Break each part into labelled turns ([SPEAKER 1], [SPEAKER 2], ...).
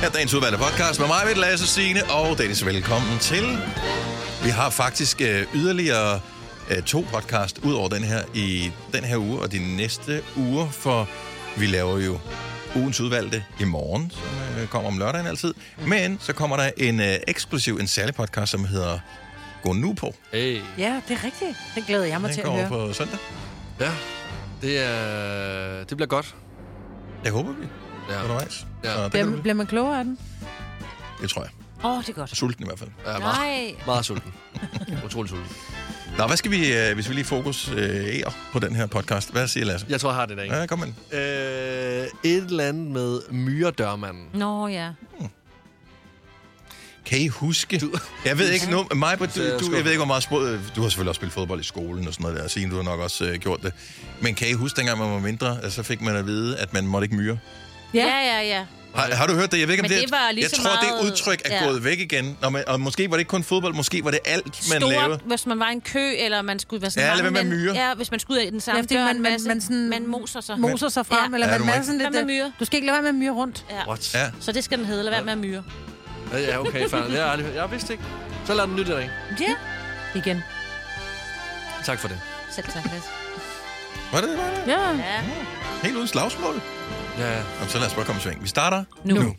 [SPEAKER 1] Her er dagens udvalgte podcast med mig, Vitt Lasse Signe og Dennis. Velkommen til. Vi har faktisk øh, yderligere øh, to podcast ud over den her i den her uge og de næste uger, for vi laver jo ugens udvalgte i morgen, som øh, kommer om lørdagen altid. Men så kommer der en øh, eksklusiv, en særlig podcast, som hedder Gå nu på.
[SPEAKER 2] Hey.
[SPEAKER 3] Ja, det er rigtigt. Den glæder jeg mig
[SPEAKER 1] Den
[SPEAKER 3] til at
[SPEAKER 1] går
[SPEAKER 3] høre.
[SPEAKER 1] på søndag.
[SPEAKER 2] Ja, det, er, det bliver godt.
[SPEAKER 1] Det håber vi
[SPEAKER 2] Ja.
[SPEAKER 1] undervejs.
[SPEAKER 2] Ja.
[SPEAKER 1] Så det, kan
[SPEAKER 3] Bliver,
[SPEAKER 1] du,
[SPEAKER 3] bliver man klogere af den?
[SPEAKER 1] det tror jeg.
[SPEAKER 3] Åh, oh, det er godt.
[SPEAKER 1] Sulten i hvert fald.
[SPEAKER 2] Jeg er meget,
[SPEAKER 3] Nej.
[SPEAKER 2] meget sulten. Utrolig sulten.
[SPEAKER 1] Nå, hvad skal vi, øh, hvis vi lige fokus øh, på den her podcast? Hvad siger Lasse?
[SPEAKER 2] Jeg tror, jeg har det der, ikke?
[SPEAKER 1] Ja, kom med den.
[SPEAKER 2] Øh, et eller andet med myredørmanden.
[SPEAKER 3] Nå, ja.
[SPEAKER 1] Kan I huske? Du... Jeg ved ikke, nu, mig, du,
[SPEAKER 2] jeg
[SPEAKER 1] du, jeg
[SPEAKER 2] skuffet.
[SPEAKER 1] ved ikke, hvor meget sprog... Du har selvfølgelig også spillet fodbold i skolen og sådan noget der, Signe, du har nok også øh, gjort det. Men kan I huske, dengang man var mindre, altså, så fik man at vide, at man måtte ikke myre?
[SPEAKER 3] Ja.
[SPEAKER 4] Ja, ja, ja.
[SPEAKER 1] Har, har du hørt det? Jeg ved ikke, om
[SPEAKER 4] Men det var lige
[SPEAKER 1] Jeg
[SPEAKER 4] så
[SPEAKER 1] tror, det
[SPEAKER 4] meget-
[SPEAKER 1] udtryk er
[SPEAKER 4] ja.
[SPEAKER 1] gået væk igen. Nå, men, og måske var det ikke kun fodbold, måske var det alt, man
[SPEAKER 4] Store,
[SPEAKER 1] lavede.
[SPEAKER 4] hvis man var i en kø, eller man skulle være sådan
[SPEAKER 1] Ja,
[SPEAKER 4] mange
[SPEAKER 1] lad være med
[SPEAKER 4] men-
[SPEAKER 1] myrer.
[SPEAKER 4] Ja, hvis man skulle ud af den samme
[SPEAKER 3] Ja, fordi
[SPEAKER 4] dør,
[SPEAKER 3] man-
[SPEAKER 4] en
[SPEAKER 3] man-
[SPEAKER 4] masse-
[SPEAKER 3] man sådan-
[SPEAKER 4] man moser sig.
[SPEAKER 3] Moser sig frem,
[SPEAKER 4] Ja.
[SPEAKER 3] ja. eller
[SPEAKER 1] Ja,
[SPEAKER 3] man
[SPEAKER 1] du må
[SPEAKER 3] maser
[SPEAKER 1] ikke.
[SPEAKER 3] sådan lidt... øh,
[SPEAKER 4] Lad med myre.
[SPEAKER 3] Du skal ikke lade være med at myre rundt.
[SPEAKER 4] Ja.
[SPEAKER 2] What? Øh,
[SPEAKER 1] Ja.
[SPEAKER 4] Så det skal den hedde. Lad være med at myre.
[SPEAKER 2] Ja, okay, fair. Jeg, har aldrig, jeg vidste ikke. Så lad den lytte derinde.
[SPEAKER 4] Ja.
[SPEAKER 3] Igen.
[SPEAKER 2] Tak for det.
[SPEAKER 4] Selv tak, Lasse.
[SPEAKER 1] Var det, var det?
[SPEAKER 3] Ja.
[SPEAKER 4] Ja.
[SPEAKER 1] Helt uden slagsmål?
[SPEAKER 2] Ja,
[SPEAKER 1] Jamen, så lad os bare komme i sving. Vi starter
[SPEAKER 3] Nu.
[SPEAKER 1] nu.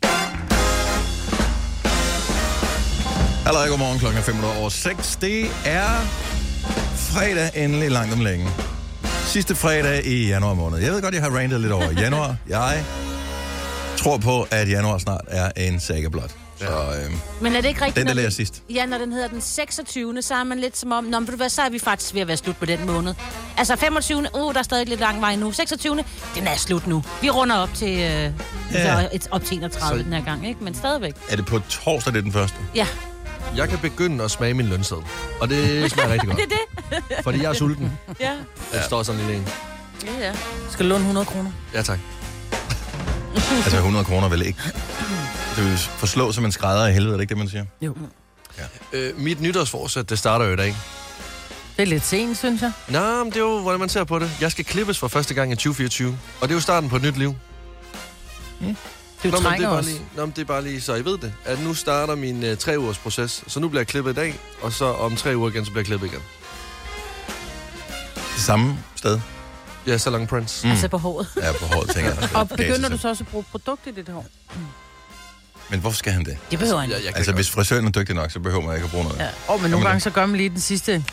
[SPEAKER 1] Allerede godmorgen klokken er 5 minutter over 6. Det er fredag endelig langt om længe. Sidste fredag i januar måned. Jeg ved godt, jeg har rantet lidt over januar. Jeg tror på, at januar snart er en saga blot. Så øh,
[SPEAKER 4] Men er det ikke rigtigt?
[SPEAKER 1] den, der
[SPEAKER 4] når
[SPEAKER 1] lærer
[SPEAKER 4] den-
[SPEAKER 1] sidst.
[SPEAKER 4] Ja, når den hedder den 26. så er man lidt som om, Nå, men ved du hvad, så er vi faktisk ved at være slut på den måned. Altså 25. Uh, der er stadig lidt lang vej nu. 26. Den er slut nu. Vi runder op til, øh,
[SPEAKER 1] Ja.
[SPEAKER 4] ja. et, op til 31
[SPEAKER 2] Så-
[SPEAKER 4] den her gang, ikke? Men stadigvæk.
[SPEAKER 1] Er det på torsdag, det er den første?
[SPEAKER 4] Ja,
[SPEAKER 2] jeg kan begynde at smage min lønseddel. Og det smager rigtig godt.
[SPEAKER 4] det er det.
[SPEAKER 2] Fordi jeg er sulten.
[SPEAKER 4] Ja.
[SPEAKER 2] Jeg står sådan lidt en.
[SPEAKER 4] Ja, ja.
[SPEAKER 3] Skal låne 100 kroner.
[SPEAKER 2] Ja, tak.
[SPEAKER 1] Altså 100 kroner vel ikke? Det vil forslå som en skrædder i helvede, er det ikke det, man siger?
[SPEAKER 3] Jo.
[SPEAKER 2] Øh, mit nytårsforsæt, det starter jo i dag.
[SPEAKER 3] Det er lidt sent, synes jeg.
[SPEAKER 2] Nå, men det er jo, hvordan man ser på det. Jeg skal klippes for første gang i 2024. Og det er jo starten på et nyt liv.
[SPEAKER 3] Du
[SPEAKER 2] Nå, men det
[SPEAKER 3] trænger
[SPEAKER 2] er bare
[SPEAKER 3] os.
[SPEAKER 2] lige, nå, men det er bare lige, så I ved det, at nu starter min øh, tre ugers proces. Så nu bliver jeg klippet i dag, og så om tre uger igen, så bliver jeg klippet igen.
[SPEAKER 1] Det samme sted.
[SPEAKER 2] Ja, så lang Prince.
[SPEAKER 4] Altså på håret.
[SPEAKER 1] Ja, på hårdt, tænker jeg.
[SPEAKER 3] Og begynder du så også at bruge produkt i dit hår?
[SPEAKER 1] Men hvorfor skal han det?
[SPEAKER 4] Det behøver han.
[SPEAKER 2] Jeg,
[SPEAKER 4] ikke.
[SPEAKER 2] jeg kan
[SPEAKER 1] Altså,
[SPEAKER 2] altså,
[SPEAKER 1] hvis frisøren er dygtig nok, så behøver man ikke at bruge noget. Ja.
[SPEAKER 3] Åh, oh, men nogle
[SPEAKER 1] Jamen,
[SPEAKER 3] gange så gør man lige den sidste.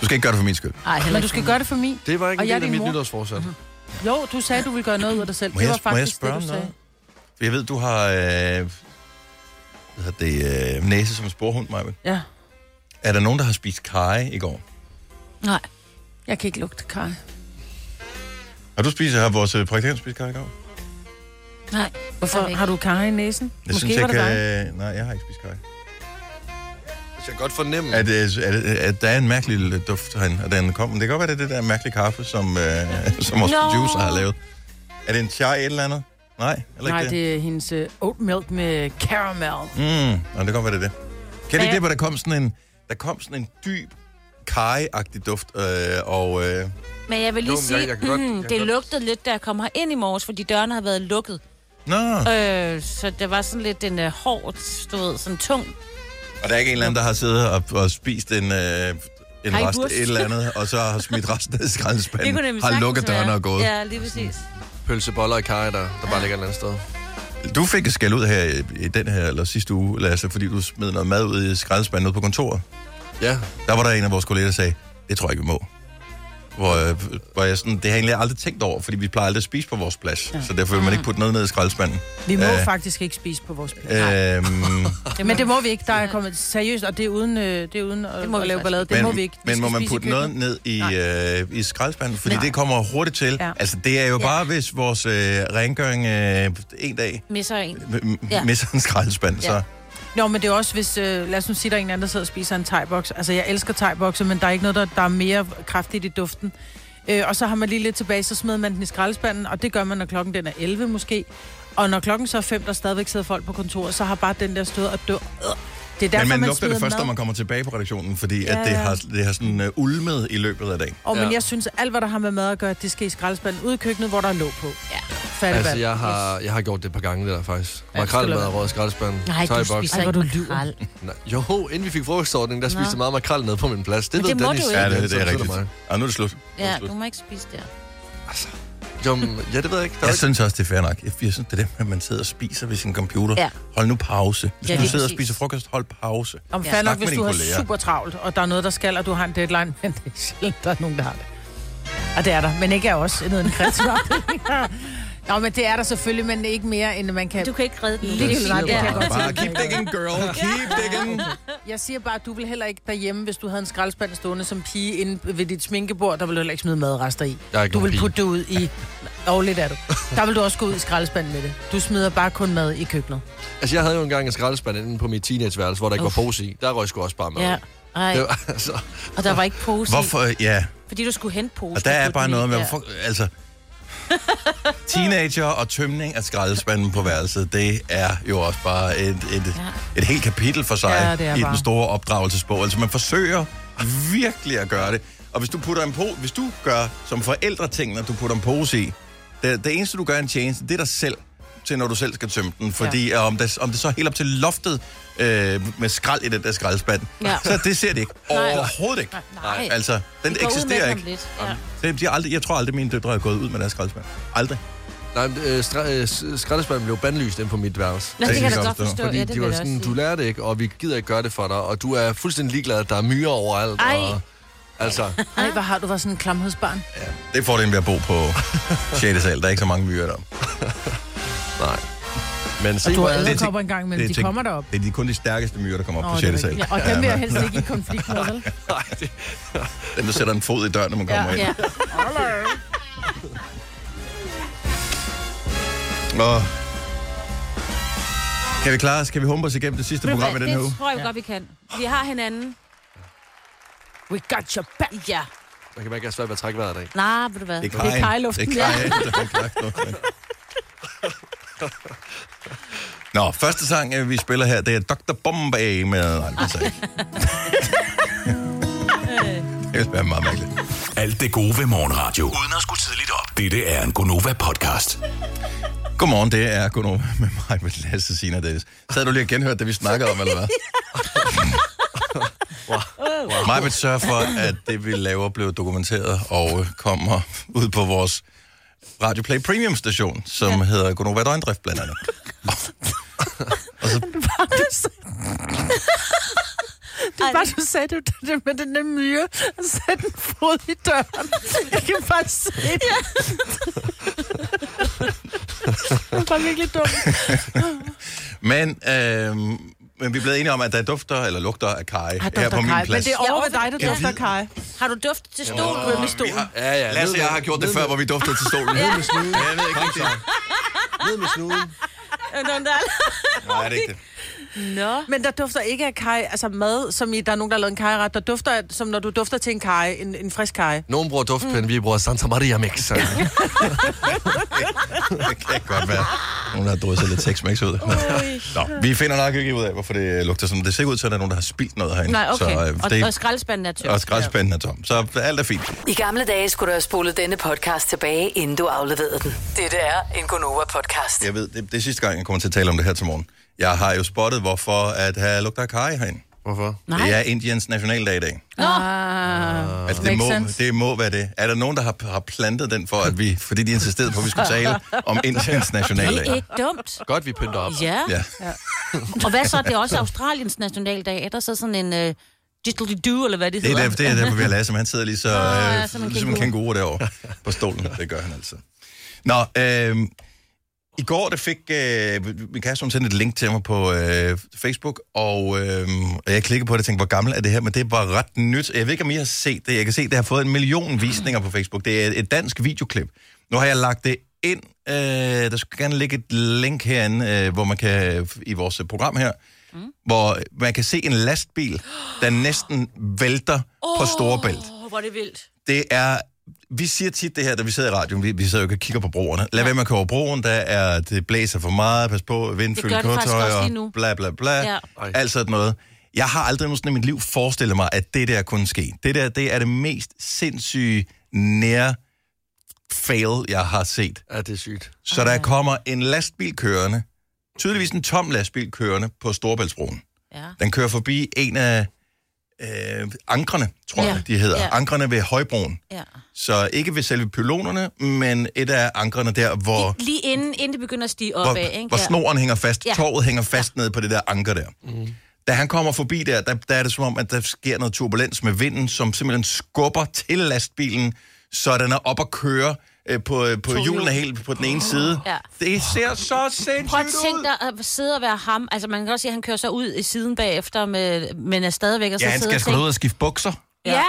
[SPEAKER 1] Du skal ikke gøre det for min skyld.
[SPEAKER 3] Ej, men du skal gøre det for min.
[SPEAKER 2] det var ikke
[SPEAKER 3] Og
[SPEAKER 2] en
[SPEAKER 3] jeg
[SPEAKER 2] del
[SPEAKER 3] er din
[SPEAKER 2] af mit
[SPEAKER 3] mor.
[SPEAKER 2] nytårsforsæt. Mm-hmm.
[SPEAKER 3] Jo, du sagde, du ville gøre noget ud af dig selv.
[SPEAKER 1] Må
[SPEAKER 3] det
[SPEAKER 1] jeg,
[SPEAKER 3] var
[SPEAKER 1] må jeg
[SPEAKER 3] faktisk
[SPEAKER 1] spørge
[SPEAKER 3] det,
[SPEAKER 1] om
[SPEAKER 3] du sagde.
[SPEAKER 1] noget? For jeg ved, du har øh, hvad hedder det, øh, næse som en sporhund, Maja.
[SPEAKER 3] Ja.
[SPEAKER 1] Er der nogen, der har spist kage i går?
[SPEAKER 4] Nej.
[SPEAKER 3] Jeg kan ikke lugte kaj.
[SPEAKER 1] Har du spist, har vores øh, praktikant spist kage i går?
[SPEAKER 4] Nej.
[SPEAKER 3] Hvorfor
[SPEAKER 4] ikke.
[SPEAKER 3] har du kaj i næsen?
[SPEAKER 1] Jeg
[SPEAKER 3] Måske var det dig.
[SPEAKER 1] øh, nej, jeg har ikke spist kage.
[SPEAKER 2] Jeg kan godt fornemme,
[SPEAKER 1] At,
[SPEAKER 2] at...
[SPEAKER 1] øh, at, øh, at, der er en mærkelig øh, duft herinde, og den kom. Det kan godt være, det er det der mærkelige kaffe, som, øh, som vores
[SPEAKER 4] Nå.
[SPEAKER 1] producer har lavet. Er det en chai et eller andet? Nej, eller
[SPEAKER 3] Nej,
[SPEAKER 1] ikke
[SPEAKER 3] det er hendes øh, oat milk med caramel.
[SPEAKER 1] Mm, nå, det kan godt være, det er det. Kan det
[SPEAKER 4] Ja.
[SPEAKER 1] ikke det, hvor der kom sådan en, der kom sådan en dyb, kajeagtig duft, øh, og... Øh,
[SPEAKER 4] Men jeg vil lige
[SPEAKER 2] Jo, men
[SPEAKER 4] sige, hmm,
[SPEAKER 2] jeg- jeg kan godt- jeg kan
[SPEAKER 4] det
[SPEAKER 2] godt-
[SPEAKER 4] lugtede lidt, da jeg kom ind i morges, fordi dørene havde været lukket.
[SPEAKER 1] nå,
[SPEAKER 4] Øh, så det var sådan lidt en uh, hård, du ved, sådan tung.
[SPEAKER 1] og der er ikke en eller anden, der har siddet og, og spist en, øh, en
[SPEAKER 4] Kajeburs.
[SPEAKER 1] rest et eller andet, og så har smidt resten af
[SPEAKER 4] Det kunne
[SPEAKER 1] skraldespanden,
[SPEAKER 4] nemlig
[SPEAKER 1] har
[SPEAKER 4] sagtens
[SPEAKER 1] lukket dørene
[SPEAKER 4] være.
[SPEAKER 1] og gået. Ja.
[SPEAKER 4] Ja, lige præcis.
[SPEAKER 2] pølseboller og kaj, der, der bare ligger et eller andet sted.
[SPEAKER 1] Du fik et skæld ud her i, i den her, eller sidste uge, Lasse, fordi du smed noget mad ud i skraldespanden ude på kontoret.
[SPEAKER 2] Ja,
[SPEAKER 1] Der var der en af vores kolleger, der sagde, det tror jeg ikke, vi må. Hvor, øh, hvor jeg sådan, det har jeg egentlig aldrig tænkt over, fordi vi plejer aldrig at spise på vores plads, ja. så derfor vil man
[SPEAKER 4] Mm.
[SPEAKER 1] ikke putte noget ned i skraldespanden.
[SPEAKER 3] Vi må
[SPEAKER 1] Øh.
[SPEAKER 3] øh. faktisk ikke spise på vores plads. Øh.
[SPEAKER 1] Øhm,
[SPEAKER 3] Men det må vi ikke. Der er kommet seriøst, og det er uden, øh, det er uden det
[SPEAKER 4] må
[SPEAKER 3] må at
[SPEAKER 4] vi
[SPEAKER 3] lave
[SPEAKER 4] faktisk
[SPEAKER 3] ballade. Det
[SPEAKER 1] men,
[SPEAKER 3] må vi ikke. Vi
[SPEAKER 1] Men
[SPEAKER 3] skal
[SPEAKER 1] må man
[SPEAKER 3] spise i
[SPEAKER 1] putte
[SPEAKER 3] køkkenet.
[SPEAKER 1] noget ned i, øh, i skraldespanden? Fordi Nej.
[SPEAKER 3] Nej.
[SPEAKER 1] det kommer hurtigt til. Ja.
[SPEAKER 3] Ja.
[SPEAKER 1] Altså, det er jo ja. bare, hvis vores øh, rengøring øh, en dag
[SPEAKER 4] Misser en.
[SPEAKER 1] ja.
[SPEAKER 4] Ja.
[SPEAKER 1] misser en skraldespand, ja.
[SPEAKER 4] Ja.
[SPEAKER 1] så...
[SPEAKER 3] Jo, men det er også, hvis, øh, lad os nu sige, der er en eller anden, der sidder og spiser en thai-boks. Altså, jeg elsker thai men der er ikke noget, der, der er mere kraftigt i duften. Øh, og så har man lige lidt tilbage, så smider man den i skraldespanden, og det gør man, når klokken den er 11 måske. Og når klokken så er 5, der stadigvæk sidder folk på kontoret, så har bare den der stået og dør. Øh. Det er derfor,
[SPEAKER 1] Men man,
[SPEAKER 3] man
[SPEAKER 1] lugter
[SPEAKER 3] smider
[SPEAKER 1] det først,
[SPEAKER 3] mad.
[SPEAKER 1] når man kommer tilbage på redaktionen, fordi ja,
[SPEAKER 3] Ja,
[SPEAKER 1] at det
[SPEAKER 3] ja.
[SPEAKER 1] har, det har sådan uh, ulmet i løbet af dagen.
[SPEAKER 3] Og men
[SPEAKER 2] Ja.
[SPEAKER 3] jeg synes, alt hvad der har med mad at gøre, det skal i skraldespanden ude i køkkenet, hvor der er låg på.
[SPEAKER 4] Ja.
[SPEAKER 3] Fattig
[SPEAKER 2] Altså,
[SPEAKER 3] vand.
[SPEAKER 2] jeg har, jeg har gjort det et par gange, det der faktisk.
[SPEAKER 3] Ja, det skal
[SPEAKER 2] Makrel med
[SPEAKER 3] du lade
[SPEAKER 2] rød skraldespand.
[SPEAKER 4] Nej, du spiser
[SPEAKER 3] Ej,
[SPEAKER 4] ikke
[SPEAKER 3] hvor du lyver.
[SPEAKER 4] makrel.
[SPEAKER 2] Nej. Jo, inden vi fik frokostordningen, der spiste jeg meget makrel ned på min plads. Det
[SPEAKER 4] Men
[SPEAKER 2] ved
[SPEAKER 4] det må
[SPEAKER 2] Dennis.
[SPEAKER 4] du ikke.
[SPEAKER 1] Ja,
[SPEAKER 2] Han
[SPEAKER 1] det, det er
[SPEAKER 2] sidder
[SPEAKER 1] rigtigt.
[SPEAKER 2] mig.
[SPEAKER 1] Og nu er det slut. Nu er
[SPEAKER 4] Ja,
[SPEAKER 1] det slut.
[SPEAKER 4] du må ikke spise der.
[SPEAKER 2] Jo, men- ja, det ved jeg ikke. Der er
[SPEAKER 1] Jeg
[SPEAKER 2] ikke-
[SPEAKER 1] synes også, det er fair nok. Jeg jeg synes, det er det, at man sidder og spiser ved sin computer.
[SPEAKER 4] Ja.
[SPEAKER 1] Hold nu pause. Hvis
[SPEAKER 4] Ja,
[SPEAKER 1] du
[SPEAKER 4] lige
[SPEAKER 1] sidder og
[SPEAKER 4] præcis.
[SPEAKER 1] spiser frokost, hold pause.
[SPEAKER 3] Om
[SPEAKER 4] Ja.
[SPEAKER 3] ja,
[SPEAKER 1] Snak
[SPEAKER 3] nok,
[SPEAKER 1] med
[SPEAKER 3] hvis
[SPEAKER 1] dine
[SPEAKER 3] du har
[SPEAKER 1] kolleger.
[SPEAKER 3] super travlt, og der er noget, der skal, og du har en deadline, men det er sjældent, der er nogen, der har det. Og det er der, men ikke af os, nede i en kreativ afdeling. Nå, men det er der selvfølgelig, men ikke mere, end man kan...
[SPEAKER 4] Du kan ikke redde den.
[SPEAKER 3] Lige
[SPEAKER 4] Lille
[SPEAKER 3] nøjagtigt,
[SPEAKER 4] ja.
[SPEAKER 3] jeg kan godt
[SPEAKER 1] Bare keep digging, girl. Keep digging.
[SPEAKER 3] Jeg siger bare, at du vil heller ikke derhjemme, hvis du havde en skraldespand stående som pige inde ved dit sminkebord, der ville du heller ikke smide madrester i.
[SPEAKER 2] Jeg er ikke
[SPEAKER 3] du
[SPEAKER 2] nogen
[SPEAKER 3] vil
[SPEAKER 2] pige.
[SPEAKER 3] putte det ud i... Og lidt er du. Der vil du også gå ud i skraldespanden med det. Du smider bare kun mad i køkkenet.
[SPEAKER 2] Altså, jeg havde jo engang en skraldespand inde på mit teenageværelse, hvor der ikke var pose i. Der røg sgu også bare mad.
[SPEAKER 4] ja. Ej,
[SPEAKER 2] Det var, altså,
[SPEAKER 4] og der var ikke pose i,
[SPEAKER 1] Hvorfor? Ja,
[SPEAKER 4] fordi du skulle hente pose.
[SPEAKER 1] og der er bare noget med, hvorfor, altså... Teenager og tømning af skraldespanden på værelset, det er jo også bare et, et, et helt kapitel for sig
[SPEAKER 3] Ja, det er
[SPEAKER 1] i den
[SPEAKER 3] bare.
[SPEAKER 1] store opdragelsesbog. Altså, man forsøger virkelig at gøre det. Og hvis du putter en po- hvis du gør som forældre ting, når du putter en pose i, det, det eneste, du gør en tjeneste, det er dig selv til, når du selv skal tømme den. Fordi ja. om, det, om det så er helt op til loftet øh, med skrald i den der skraldespand, ja.
[SPEAKER 4] Ja.
[SPEAKER 1] så det ser det ikke. Overhovedet ikke.
[SPEAKER 4] Nej.
[SPEAKER 1] Altså, den
[SPEAKER 4] Vi går ud med
[SPEAKER 1] eksisterer
[SPEAKER 4] den om
[SPEAKER 1] ikke.
[SPEAKER 4] lidt. Ja.
[SPEAKER 1] Det, de har aldrig, jeg tror aldrig, mine døtre er gået ud med deres skraldespand. Aldrig.
[SPEAKER 2] nej, men, øh, stra- øh, s- skraldespanden blev bandlyst inde på mit værelse.
[SPEAKER 4] Nå, det kan jeg da
[SPEAKER 1] Fordi
[SPEAKER 4] godt forstå.
[SPEAKER 2] Fordi
[SPEAKER 4] ja,
[SPEAKER 2] de
[SPEAKER 4] det
[SPEAKER 2] var
[SPEAKER 4] vil jeg
[SPEAKER 2] sådan,
[SPEAKER 4] også
[SPEAKER 2] du
[SPEAKER 4] sige.
[SPEAKER 2] lærer det ikke, og vi gider ikke gøre det for dig, og du er fuldstændig ligeglad, at der er myrer overalt.
[SPEAKER 4] Ej.
[SPEAKER 2] Og, altså,
[SPEAKER 3] Nej, hvor har du været sådan en klamhedsbarn?
[SPEAKER 1] Ja. Det er fordelen ved at bo på 6. sal. Der er ikke så mange myrer der.
[SPEAKER 2] nej. Men se,
[SPEAKER 3] Og du
[SPEAKER 2] hvor
[SPEAKER 3] har
[SPEAKER 2] er det.
[SPEAKER 3] æderkopper engang, men de kommer derop.
[SPEAKER 1] Det er de, kun de stærkeste myrer, der kommer op
[SPEAKER 3] Nå,
[SPEAKER 1] Nå, på
[SPEAKER 3] det er
[SPEAKER 1] 6. sal.
[SPEAKER 3] rigtigt. og dem vil jeg helst ikke i konflikt med, vel?
[SPEAKER 2] Nej, det-
[SPEAKER 1] Den, der sætter en fod i døren, når man kommer ja, ind.
[SPEAKER 4] Ja.
[SPEAKER 1] Og... Kan vi klare os? Kan vi humpe os igennem det sidste
[SPEAKER 4] Ved du
[SPEAKER 1] program i
[SPEAKER 4] hvad,
[SPEAKER 1] den her uge?
[SPEAKER 4] Det tror jeg godt, vi kan. Vi har hinanden.
[SPEAKER 3] We got your back.
[SPEAKER 4] Ja.
[SPEAKER 2] Man kan mærke, at jeg er svært ved at trække vejret i dag.
[SPEAKER 4] Nej, ved du hvad?
[SPEAKER 1] Det er Kajen.
[SPEAKER 3] kajluften,
[SPEAKER 1] Det er Kajen, der kan knække noget. Nå, første sang, øh, vi spiller her, det er Dr. Bombay med... Nej, det er Det vil være meget mærkeligt.
[SPEAKER 5] Alt det gode ved morgenradio. Uden at skulle tidligt op. Dette er en Gonova-podcast.
[SPEAKER 1] Godmorgen, det er Gunnar med mig, med Lasse, Sina og Dennis. Så havde du lige genhørt det, vi snakkede om, eller hvad? wow. Mig vil sørge for, at det, vi laver, bliver dokumenteret og øh, kommer ud på vores Radio Play Premium station, som ja. hedder Gunova Døgndrift, blandt andet.
[SPEAKER 3] Det var, du sagde det, det med den der myre, og sætte en fod i døren. Jeg kan bare se det. det var virkelig dumt.
[SPEAKER 1] Men, øh, men vi er blevet enige om, at der dufter eller lugter af kaj
[SPEAKER 4] Ah,
[SPEAKER 1] her
[SPEAKER 3] Dr.
[SPEAKER 1] på min
[SPEAKER 3] Kai, men
[SPEAKER 1] plads.
[SPEAKER 3] det er over ved dig, der
[SPEAKER 1] Jeg
[SPEAKER 3] dufter
[SPEAKER 1] ved-
[SPEAKER 3] Kai.
[SPEAKER 4] Har du duft til stol?
[SPEAKER 1] Åh,
[SPEAKER 4] Oh,
[SPEAKER 1] vi har-
[SPEAKER 2] Ja, ja,
[SPEAKER 1] Lasse
[SPEAKER 2] ned
[SPEAKER 1] og jeg
[SPEAKER 2] med-
[SPEAKER 1] har gjort det
[SPEAKER 2] ned
[SPEAKER 1] før,
[SPEAKER 2] med-
[SPEAKER 1] hvor vi duftede til stolen.
[SPEAKER 2] Ned med snuden.
[SPEAKER 1] Ja, jeg ved ikke rigtigt.
[SPEAKER 2] Ned med snuden.
[SPEAKER 1] Nej, det er ikke det.
[SPEAKER 4] Nå.
[SPEAKER 3] Men der dufter ikke af kaj, altså mad, som i, der er nogen, der har lavet en kajret. Der dufter, af- som når du dufter til en kaj, en, en frisk kaj.
[SPEAKER 2] Nogen bruger
[SPEAKER 4] Mm.
[SPEAKER 2] duftpind, vi bruger Santa Maria Mix.
[SPEAKER 1] Det kan godt være. Nogen har drysset lidt Tex-Mex ud. Nå, vi finder nok ikke ud af, hvorfor det lugter sådan. Det ser ikke ud til, at der er nogen, der har spildt noget herinde.
[SPEAKER 4] Nej, okay.
[SPEAKER 1] Så, øh, det,
[SPEAKER 4] Og, og skraldespanden er tør.
[SPEAKER 1] og skraldspanden er tom. Så alt er fint.
[SPEAKER 6] I gamle dage skulle du have spolet denne podcast tilbage, inden du afleverede den. Dette er en Gonova-podcast.
[SPEAKER 1] Jeg ved, det, det er sidste gang, jeg kommer til at tale om det her til morgen. Jeg har jo spottet, hvorfor at her lugter af kaj herinde.
[SPEAKER 2] Hvorfor?
[SPEAKER 4] Nej.
[SPEAKER 1] Det er Indiens nationaldag i dag.
[SPEAKER 4] Nå.
[SPEAKER 1] Altså,
[SPEAKER 3] Makes
[SPEAKER 1] det, må,
[SPEAKER 3] sense.
[SPEAKER 1] det må være det. Er der nogen, der har, har plantet den for, at vi, fordi de insisterede på, at vi skulle tale om Indiens
[SPEAKER 4] Det er
[SPEAKER 1] nationaldag?
[SPEAKER 4] ikke dumt.
[SPEAKER 2] Godt, vi pynter op.
[SPEAKER 4] Ja.
[SPEAKER 1] Ja.
[SPEAKER 4] Og hvad så? Det er også Australiens nationaldag. Er der så sådan en uh, diddly-do, eller hvad det
[SPEAKER 1] Det
[SPEAKER 4] hedder?
[SPEAKER 1] er derfor, det er derfor, vi har Lasse, men han sidder lige så,
[SPEAKER 4] Ah,
[SPEAKER 1] øh,
[SPEAKER 4] som en
[SPEAKER 1] som en kænguru derovre på stolen. Det gør han altid. Nå, øh, i går der fik øh, Michael sendte et link til mig på øh, Facebook, og, øh, og jeg klikkede på det og tænkte, hvor gammel er det her? Men det var ret nyt. Jeg ved ikke, om I har set det. Jeg kan se, det har fået en million visninger på Facebook. Det er et dansk videoklip. Nu har jeg lagt det ind. Øh, der skal gerne ligge et link herinde, øh, hvor man kan, i vores program her, mm. hvor man kan se en lastbil, der næsten vælter oh. på Storebælt.
[SPEAKER 4] Åh, hvor er det vildt.
[SPEAKER 1] Det er vi siger tit det her, da vi sidder i radioen, vi, vi sidder jo ikke og kigger på broerne. Lad ja. være med at køre over broen, der er, det blæser for meget, pas på,
[SPEAKER 4] Det
[SPEAKER 1] vindfyldt
[SPEAKER 4] gør det faktisk
[SPEAKER 1] køretøj,
[SPEAKER 4] også
[SPEAKER 1] og
[SPEAKER 4] lige nu.
[SPEAKER 1] bla bla bla, ja.
[SPEAKER 4] Ja.
[SPEAKER 2] Ej.
[SPEAKER 1] alt sådan noget. Jeg har aldrig nogensinde i mit liv forestillet mig, at det der kunne ske. Det der, det er det mest sindssyge nær fail, jeg har set.
[SPEAKER 2] Ja, det er sygt.
[SPEAKER 1] Så der kommer en lastbil kørende, tydeligvis en tom lastbil kørende på Storebæltsbroen.
[SPEAKER 4] Ja.
[SPEAKER 1] Den kører forbi en af øh, ankerne, tror jeg,
[SPEAKER 4] Ja,
[SPEAKER 1] de hedder.
[SPEAKER 4] ja.
[SPEAKER 1] Ankerne ved Højbroen.
[SPEAKER 4] ja.
[SPEAKER 1] Så ikke ved selve pylonerne, men et af ankerne der, hvor,
[SPEAKER 4] Lige inden, inden det begynder at stige op af,
[SPEAKER 1] hvor,
[SPEAKER 4] ikke?
[SPEAKER 1] hvor snoren hænger fast, ja.
[SPEAKER 4] Ja.
[SPEAKER 1] toget hænger fast ja. ned på det der anker der. Mm. Da han kommer forbi der, der, der er det som om, at der sker noget turbulens med vinden, som simpelthen skubber til lastbilen, så den er op at køre øh, på, øh, på hjulene helt på den ene side.
[SPEAKER 4] Ja.
[SPEAKER 1] Det ser så sindssygt
[SPEAKER 4] Prøv at
[SPEAKER 1] ud!
[SPEAKER 4] tænke dig at sidde og være ham. Altså, man kan også sige, at han kører så ud i siden bagefter, med, men er stadigvæk... Og så
[SPEAKER 1] Ja, han
[SPEAKER 4] sidde
[SPEAKER 1] skal
[SPEAKER 4] og
[SPEAKER 1] sgu da
[SPEAKER 4] tænke-
[SPEAKER 1] ud og skifte bukser.
[SPEAKER 4] Ja,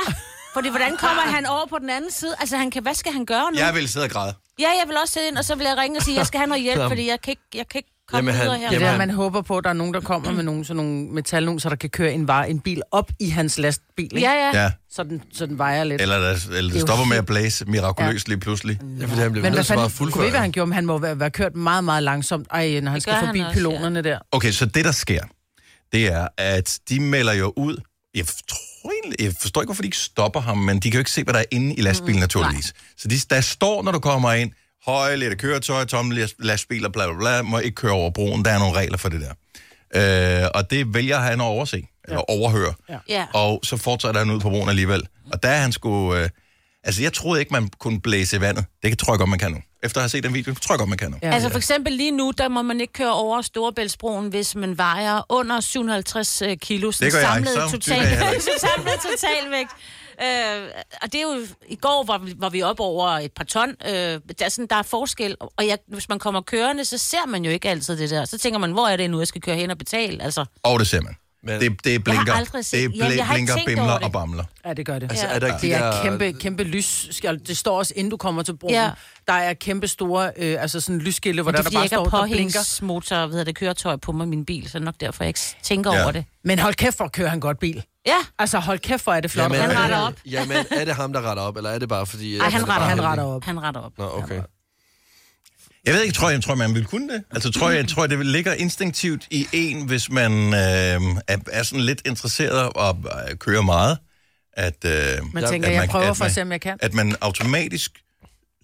[SPEAKER 4] fordi hvordan kommer han over på den anden side? Altså, han kan, hvad skal han gøre nu? Ja,
[SPEAKER 1] Jeg vil sidde og græde.
[SPEAKER 4] jeg vil også sætte ind, og så vil jeg ringe og sige, at jeg skal have noget hjælp, fordi jeg kan ikke, jeg kan ikke komme
[SPEAKER 2] Jamen, han-
[SPEAKER 4] videre her.
[SPEAKER 3] Det
[SPEAKER 2] Jamen,
[SPEAKER 3] er der,
[SPEAKER 2] han-
[SPEAKER 3] man håber på, at der er nogen, der kommer med nogle, sådan nogle metalnogen, så der kan køre en, vare, en bil op i hans lastbil, ikke?
[SPEAKER 4] Ja, ja.
[SPEAKER 1] Ja.
[SPEAKER 3] Så, den, så den vejer lidt.
[SPEAKER 1] Eller, der, eller det
[SPEAKER 3] jo
[SPEAKER 1] stopper med at
[SPEAKER 3] helt-
[SPEAKER 1] blæse mirakuløst lige pludselig.
[SPEAKER 2] Ja, fordi han blev
[SPEAKER 3] Men hvad
[SPEAKER 2] nødt til bare
[SPEAKER 3] fanden, kunne
[SPEAKER 2] at fuldføre.
[SPEAKER 3] ikke, hvad han gjorde, men han må være, være kørt meget, meget langsomt. Ej, når han skal
[SPEAKER 4] gør
[SPEAKER 3] forbi
[SPEAKER 4] han også,
[SPEAKER 3] pylonerne der.
[SPEAKER 1] Okay, så det, der sker, det er, at de melder jo ud. Jeg, tror egentlig, jeg forstår ikke, hvorfor de ikke stopper ham, men de kan jo ikke se, hvad der er inde i lastbilen,
[SPEAKER 4] Mm,
[SPEAKER 1] naturligvis. Så de, der står, når du kommer ind, høje lidt af køretøj, tomme las- lastbiler, bla bla bla, må ikke køre over broen. Der er nogle regler for det der. Øh, og det vælger han at overse, eller overhøre.
[SPEAKER 4] Ja.
[SPEAKER 1] Og så fortsætter han ud på broen alligevel. Og der er han sgu... Øh, altså, jeg troede ikke, man kunne blæse i vandet. Det tror jeg godt, man kan nu. Efter at have set den video, tror jeg godt, man kan nu.
[SPEAKER 3] Ja.
[SPEAKER 4] Altså for eksempel lige nu, der må man ikke køre over Storebæltsbroen, hvis man vejer under 750 øh, kilo. Sådan
[SPEAKER 1] Det gør jeg
[SPEAKER 4] samlet
[SPEAKER 1] ikke, så tyk er
[SPEAKER 4] total,
[SPEAKER 1] jeg heller ikke.
[SPEAKER 4] så samlet totalvægt. Øh, og det er jo, i går var, vi- var vi op over et par ton, øh, der, er sådan, der er forskel, og jeg, hvis man kommer kørende, så ser man jo ikke altid det der. Så tænker man, hvor er det nu, jeg skal køre hen og betale? Altså,
[SPEAKER 1] Og det ser man.
[SPEAKER 2] Men-
[SPEAKER 1] det, det blinker.
[SPEAKER 4] aldrig set-
[SPEAKER 1] Det bl-
[SPEAKER 4] Jamen, jeg har ikke
[SPEAKER 1] blinker,
[SPEAKER 4] tænkt
[SPEAKER 1] bimler
[SPEAKER 4] over det.
[SPEAKER 1] og bamler.
[SPEAKER 3] Ja, det gør det.
[SPEAKER 2] Altså, er der ikke
[SPEAKER 3] Det
[SPEAKER 2] de
[SPEAKER 3] er
[SPEAKER 2] der-
[SPEAKER 3] kæmpe, kæmpe lysskjold. Det står også, inden du kommer til broen. Ja.
[SPEAKER 4] Ja.
[SPEAKER 3] Der er kæmpe store, øh, altså sådan lysskilte, hvor
[SPEAKER 4] det
[SPEAKER 3] der,
[SPEAKER 4] er
[SPEAKER 3] der
[SPEAKER 4] fordi, jeg
[SPEAKER 3] bare
[SPEAKER 4] ikke har
[SPEAKER 3] står, der blinker.
[SPEAKER 4] påhængsmotor, hvad hedder det, køretøj på mig i min bil, så er det nok derfor, jeg ikke tænker
[SPEAKER 1] Ja.
[SPEAKER 4] over det.
[SPEAKER 3] Men hold kæft, hvor kører han godt bil.
[SPEAKER 4] Ja,
[SPEAKER 3] Altså, hold kæft, hvor er det flot.
[SPEAKER 2] Jamen, øh,
[SPEAKER 4] Han
[SPEAKER 2] er det-
[SPEAKER 4] retter op.
[SPEAKER 2] Jamen, er det ham, der retter op, eller er det bare fordi... Ah,
[SPEAKER 4] Ej, han retter,
[SPEAKER 3] han
[SPEAKER 4] han
[SPEAKER 3] retter op.
[SPEAKER 4] han retter op.
[SPEAKER 2] Nå, okay.
[SPEAKER 1] Jeg ved ikke, tror jeg, tror man ville kunne det? Altså, tror jeg, tror jeg, det ligger instinktivt i en, hvis man øh, er, er sådan lidt interesseret og øh, kører meget, at, øh,
[SPEAKER 3] Man
[SPEAKER 1] at
[SPEAKER 3] tænker, jeg prøver
[SPEAKER 1] at
[SPEAKER 3] for at
[SPEAKER 1] man-
[SPEAKER 3] se, om jeg kan.
[SPEAKER 1] At man automatisk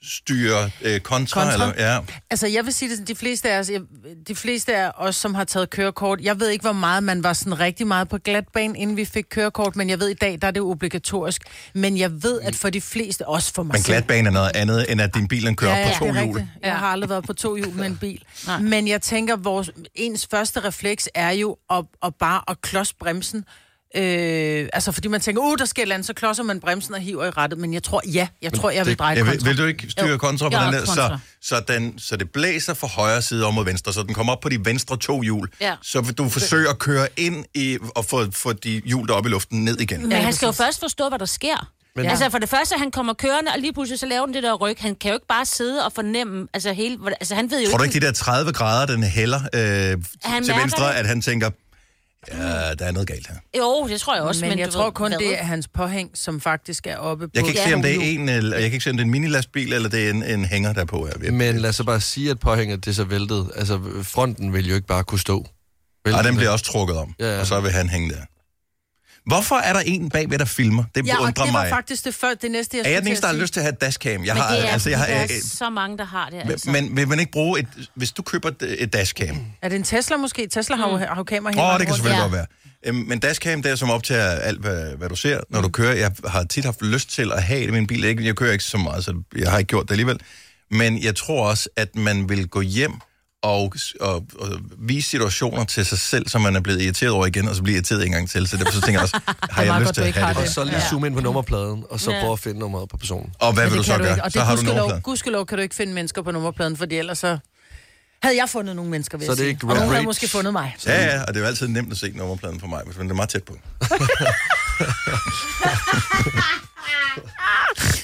[SPEAKER 1] styrer øh, kontra,
[SPEAKER 3] Kontra?
[SPEAKER 1] kontra, eller ja.
[SPEAKER 3] Altså, jeg vil sige det sådan, de fleste af os, jeg- de fleste af os, som har taget kørekort, jeg ved ikke, hvor meget man var sådan rigtig meget på glatbane, inden vi fik kørekort, men jeg ved, i dag, der er det obligatorisk. Men jeg ved,
[SPEAKER 2] Mm.
[SPEAKER 3] at for de fleste, også for mig
[SPEAKER 1] Men
[SPEAKER 3] selv,
[SPEAKER 1] glatbane er noget andet, end at din bil den kører ja, på to
[SPEAKER 3] det er
[SPEAKER 1] hjul.
[SPEAKER 3] rigtigt. Jeg har aldrig været på to hjul med en bil. Men jeg tænker, vores ens første refleks er jo at, at bare at klods bremsen. Øh, altså fordi man tænker, uh, der sker et eller andet, så klodser man bremsen og hiver i rettet. Men jeg tror, ja, jeg tror, jeg vil dreje
[SPEAKER 1] Ja, vil,
[SPEAKER 3] kontra.
[SPEAKER 1] vil du ikke styre
[SPEAKER 3] Jo.
[SPEAKER 1] kontra på
[SPEAKER 4] Jo,
[SPEAKER 1] den der? Så,
[SPEAKER 4] kontra.
[SPEAKER 1] så, den, så det blæser fra højre side om mod venstre, så den kommer op på de venstre to hjul.
[SPEAKER 4] Ja.
[SPEAKER 1] Så vil du forsøge at køre ind i, og få, få de hjul deroppe i luften ned igen.
[SPEAKER 4] Men han skal jo først forstå, hvad der sker. Men,
[SPEAKER 2] Men-
[SPEAKER 4] altså for det første, han kommer kørende, og lige pludselig så laver den det der ryg. Han kan jo ikke bare sidde og fornemme, altså hele, hvordan- altså han ved jo
[SPEAKER 1] Tror du
[SPEAKER 4] ikke,
[SPEAKER 1] ikke, de der 30 grader, den hælder øh, til
[SPEAKER 4] mærker
[SPEAKER 1] venstre,
[SPEAKER 4] det.
[SPEAKER 1] at han tænker, ja, der er noget galt her.
[SPEAKER 4] Jo, det tror jeg også, men,
[SPEAKER 3] Men
[SPEAKER 4] du
[SPEAKER 3] jeg
[SPEAKER 4] ved,
[SPEAKER 3] tror kun,
[SPEAKER 4] hvad?
[SPEAKER 3] det er hans påhæng, som faktisk er oppe på...
[SPEAKER 1] Jeg kan ikke
[SPEAKER 4] Ja.
[SPEAKER 1] se, om det er en, eller, jeg kan ikke se, om det er en minilastbil, eller det er en, en hænger, der er på. her.
[SPEAKER 2] Men lad os så bare sige, at påhænget det er så væltet. Altså, fronten vil jo ikke bare kunne stå. Vel?
[SPEAKER 1] Og den bliver også trukket om,
[SPEAKER 2] Mm. Ja, ja.
[SPEAKER 1] og så vil han hænge der. Hvorfor er der en bagved, der filmer? Det
[SPEAKER 3] Ja, og
[SPEAKER 1] undrer
[SPEAKER 3] det var
[SPEAKER 1] mig.
[SPEAKER 3] faktisk det, før, det næste, jeg
[SPEAKER 1] Er
[SPEAKER 3] skulle
[SPEAKER 1] jeg den
[SPEAKER 3] til
[SPEAKER 1] eneste,
[SPEAKER 3] at
[SPEAKER 1] der har
[SPEAKER 3] sige.
[SPEAKER 1] lyst til at have et dashcam? Jeg
[SPEAKER 4] Men
[SPEAKER 1] har,
[SPEAKER 4] det er,
[SPEAKER 1] altså, jeg har,
[SPEAKER 4] der er
[SPEAKER 1] øh,
[SPEAKER 4] så mange, der har det, altså. Men,
[SPEAKER 1] Men vil man ikke bruge et... Hvis du køber et- et dashcam... Åh,
[SPEAKER 3] Er det en Tesla måske? Tesla har
[SPEAKER 4] Mm.
[SPEAKER 3] jo, har jo kamera hele
[SPEAKER 1] oh,
[SPEAKER 3] vejen
[SPEAKER 1] det kan
[SPEAKER 3] rundt.
[SPEAKER 1] selvfølgelig
[SPEAKER 4] Ja.
[SPEAKER 1] godt være. Øhm, Men dashcam, det er som optager alt, hvad, hvad du ser, når du kører. Jeg har tit haft lyst til at have det i min bil. Ikke- Jeg kører ikke så meget, så jeg har ikke gjort det alligevel. Men jeg tror også, at man vil gå hjem og, og, og vise situationer til sig selv, som man er blevet irriteret over igen, og så bliver irriteret en gang til. Så derfor så tænker jeg også, har jeg
[SPEAKER 3] meget
[SPEAKER 1] lyst
[SPEAKER 3] godt,
[SPEAKER 1] til
[SPEAKER 3] du
[SPEAKER 1] at
[SPEAKER 3] ikke
[SPEAKER 1] have
[SPEAKER 3] har
[SPEAKER 1] det?
[SPEAKER 2] Og
[SPEAKER 1] også?
[SPEAKER 2] så lige zoome ind på nummerpladen, og så prøve at finde nummeret på personen.
[SPEAKER 1] Og hvad
[SPEAKER 3] Men
[SPEAKER 1] vil du
[SPEAKER 3] det
[SPEAKER 1] så
[SPEAKER 3] Altså, kan
[SPEAKER 1] gøre?
[SPEAKER 3] ikke. Og
[SPEAKER 1] Så
[SPEAKER 3] det
[SPEAKER 1] har du
[SPEAKER 3] gudskelov,
[SPEAKER 1] nummerpladen.
[SPEAKER 3] gudskelov kan du ikke finde mennesker på nummerpladen, fordi ellers så havde jeg fundet nogle mennesker, vil
[SPEAKER 2] Så
[SPEAKER 3] jeg
[SPEAKER 2] det er
[SPEAKER 3] sige.
[SPEAKER 2] ikke
[SPEAKER 3] Og nogen havde
[SPEAKER 2] rage.
[SPEAKER 3] måske fundet mig.
[SPEAKER 1] Ja, ja, og det er jo altid nemt at se nummerpladen for mig, hvis man er meget tæt på.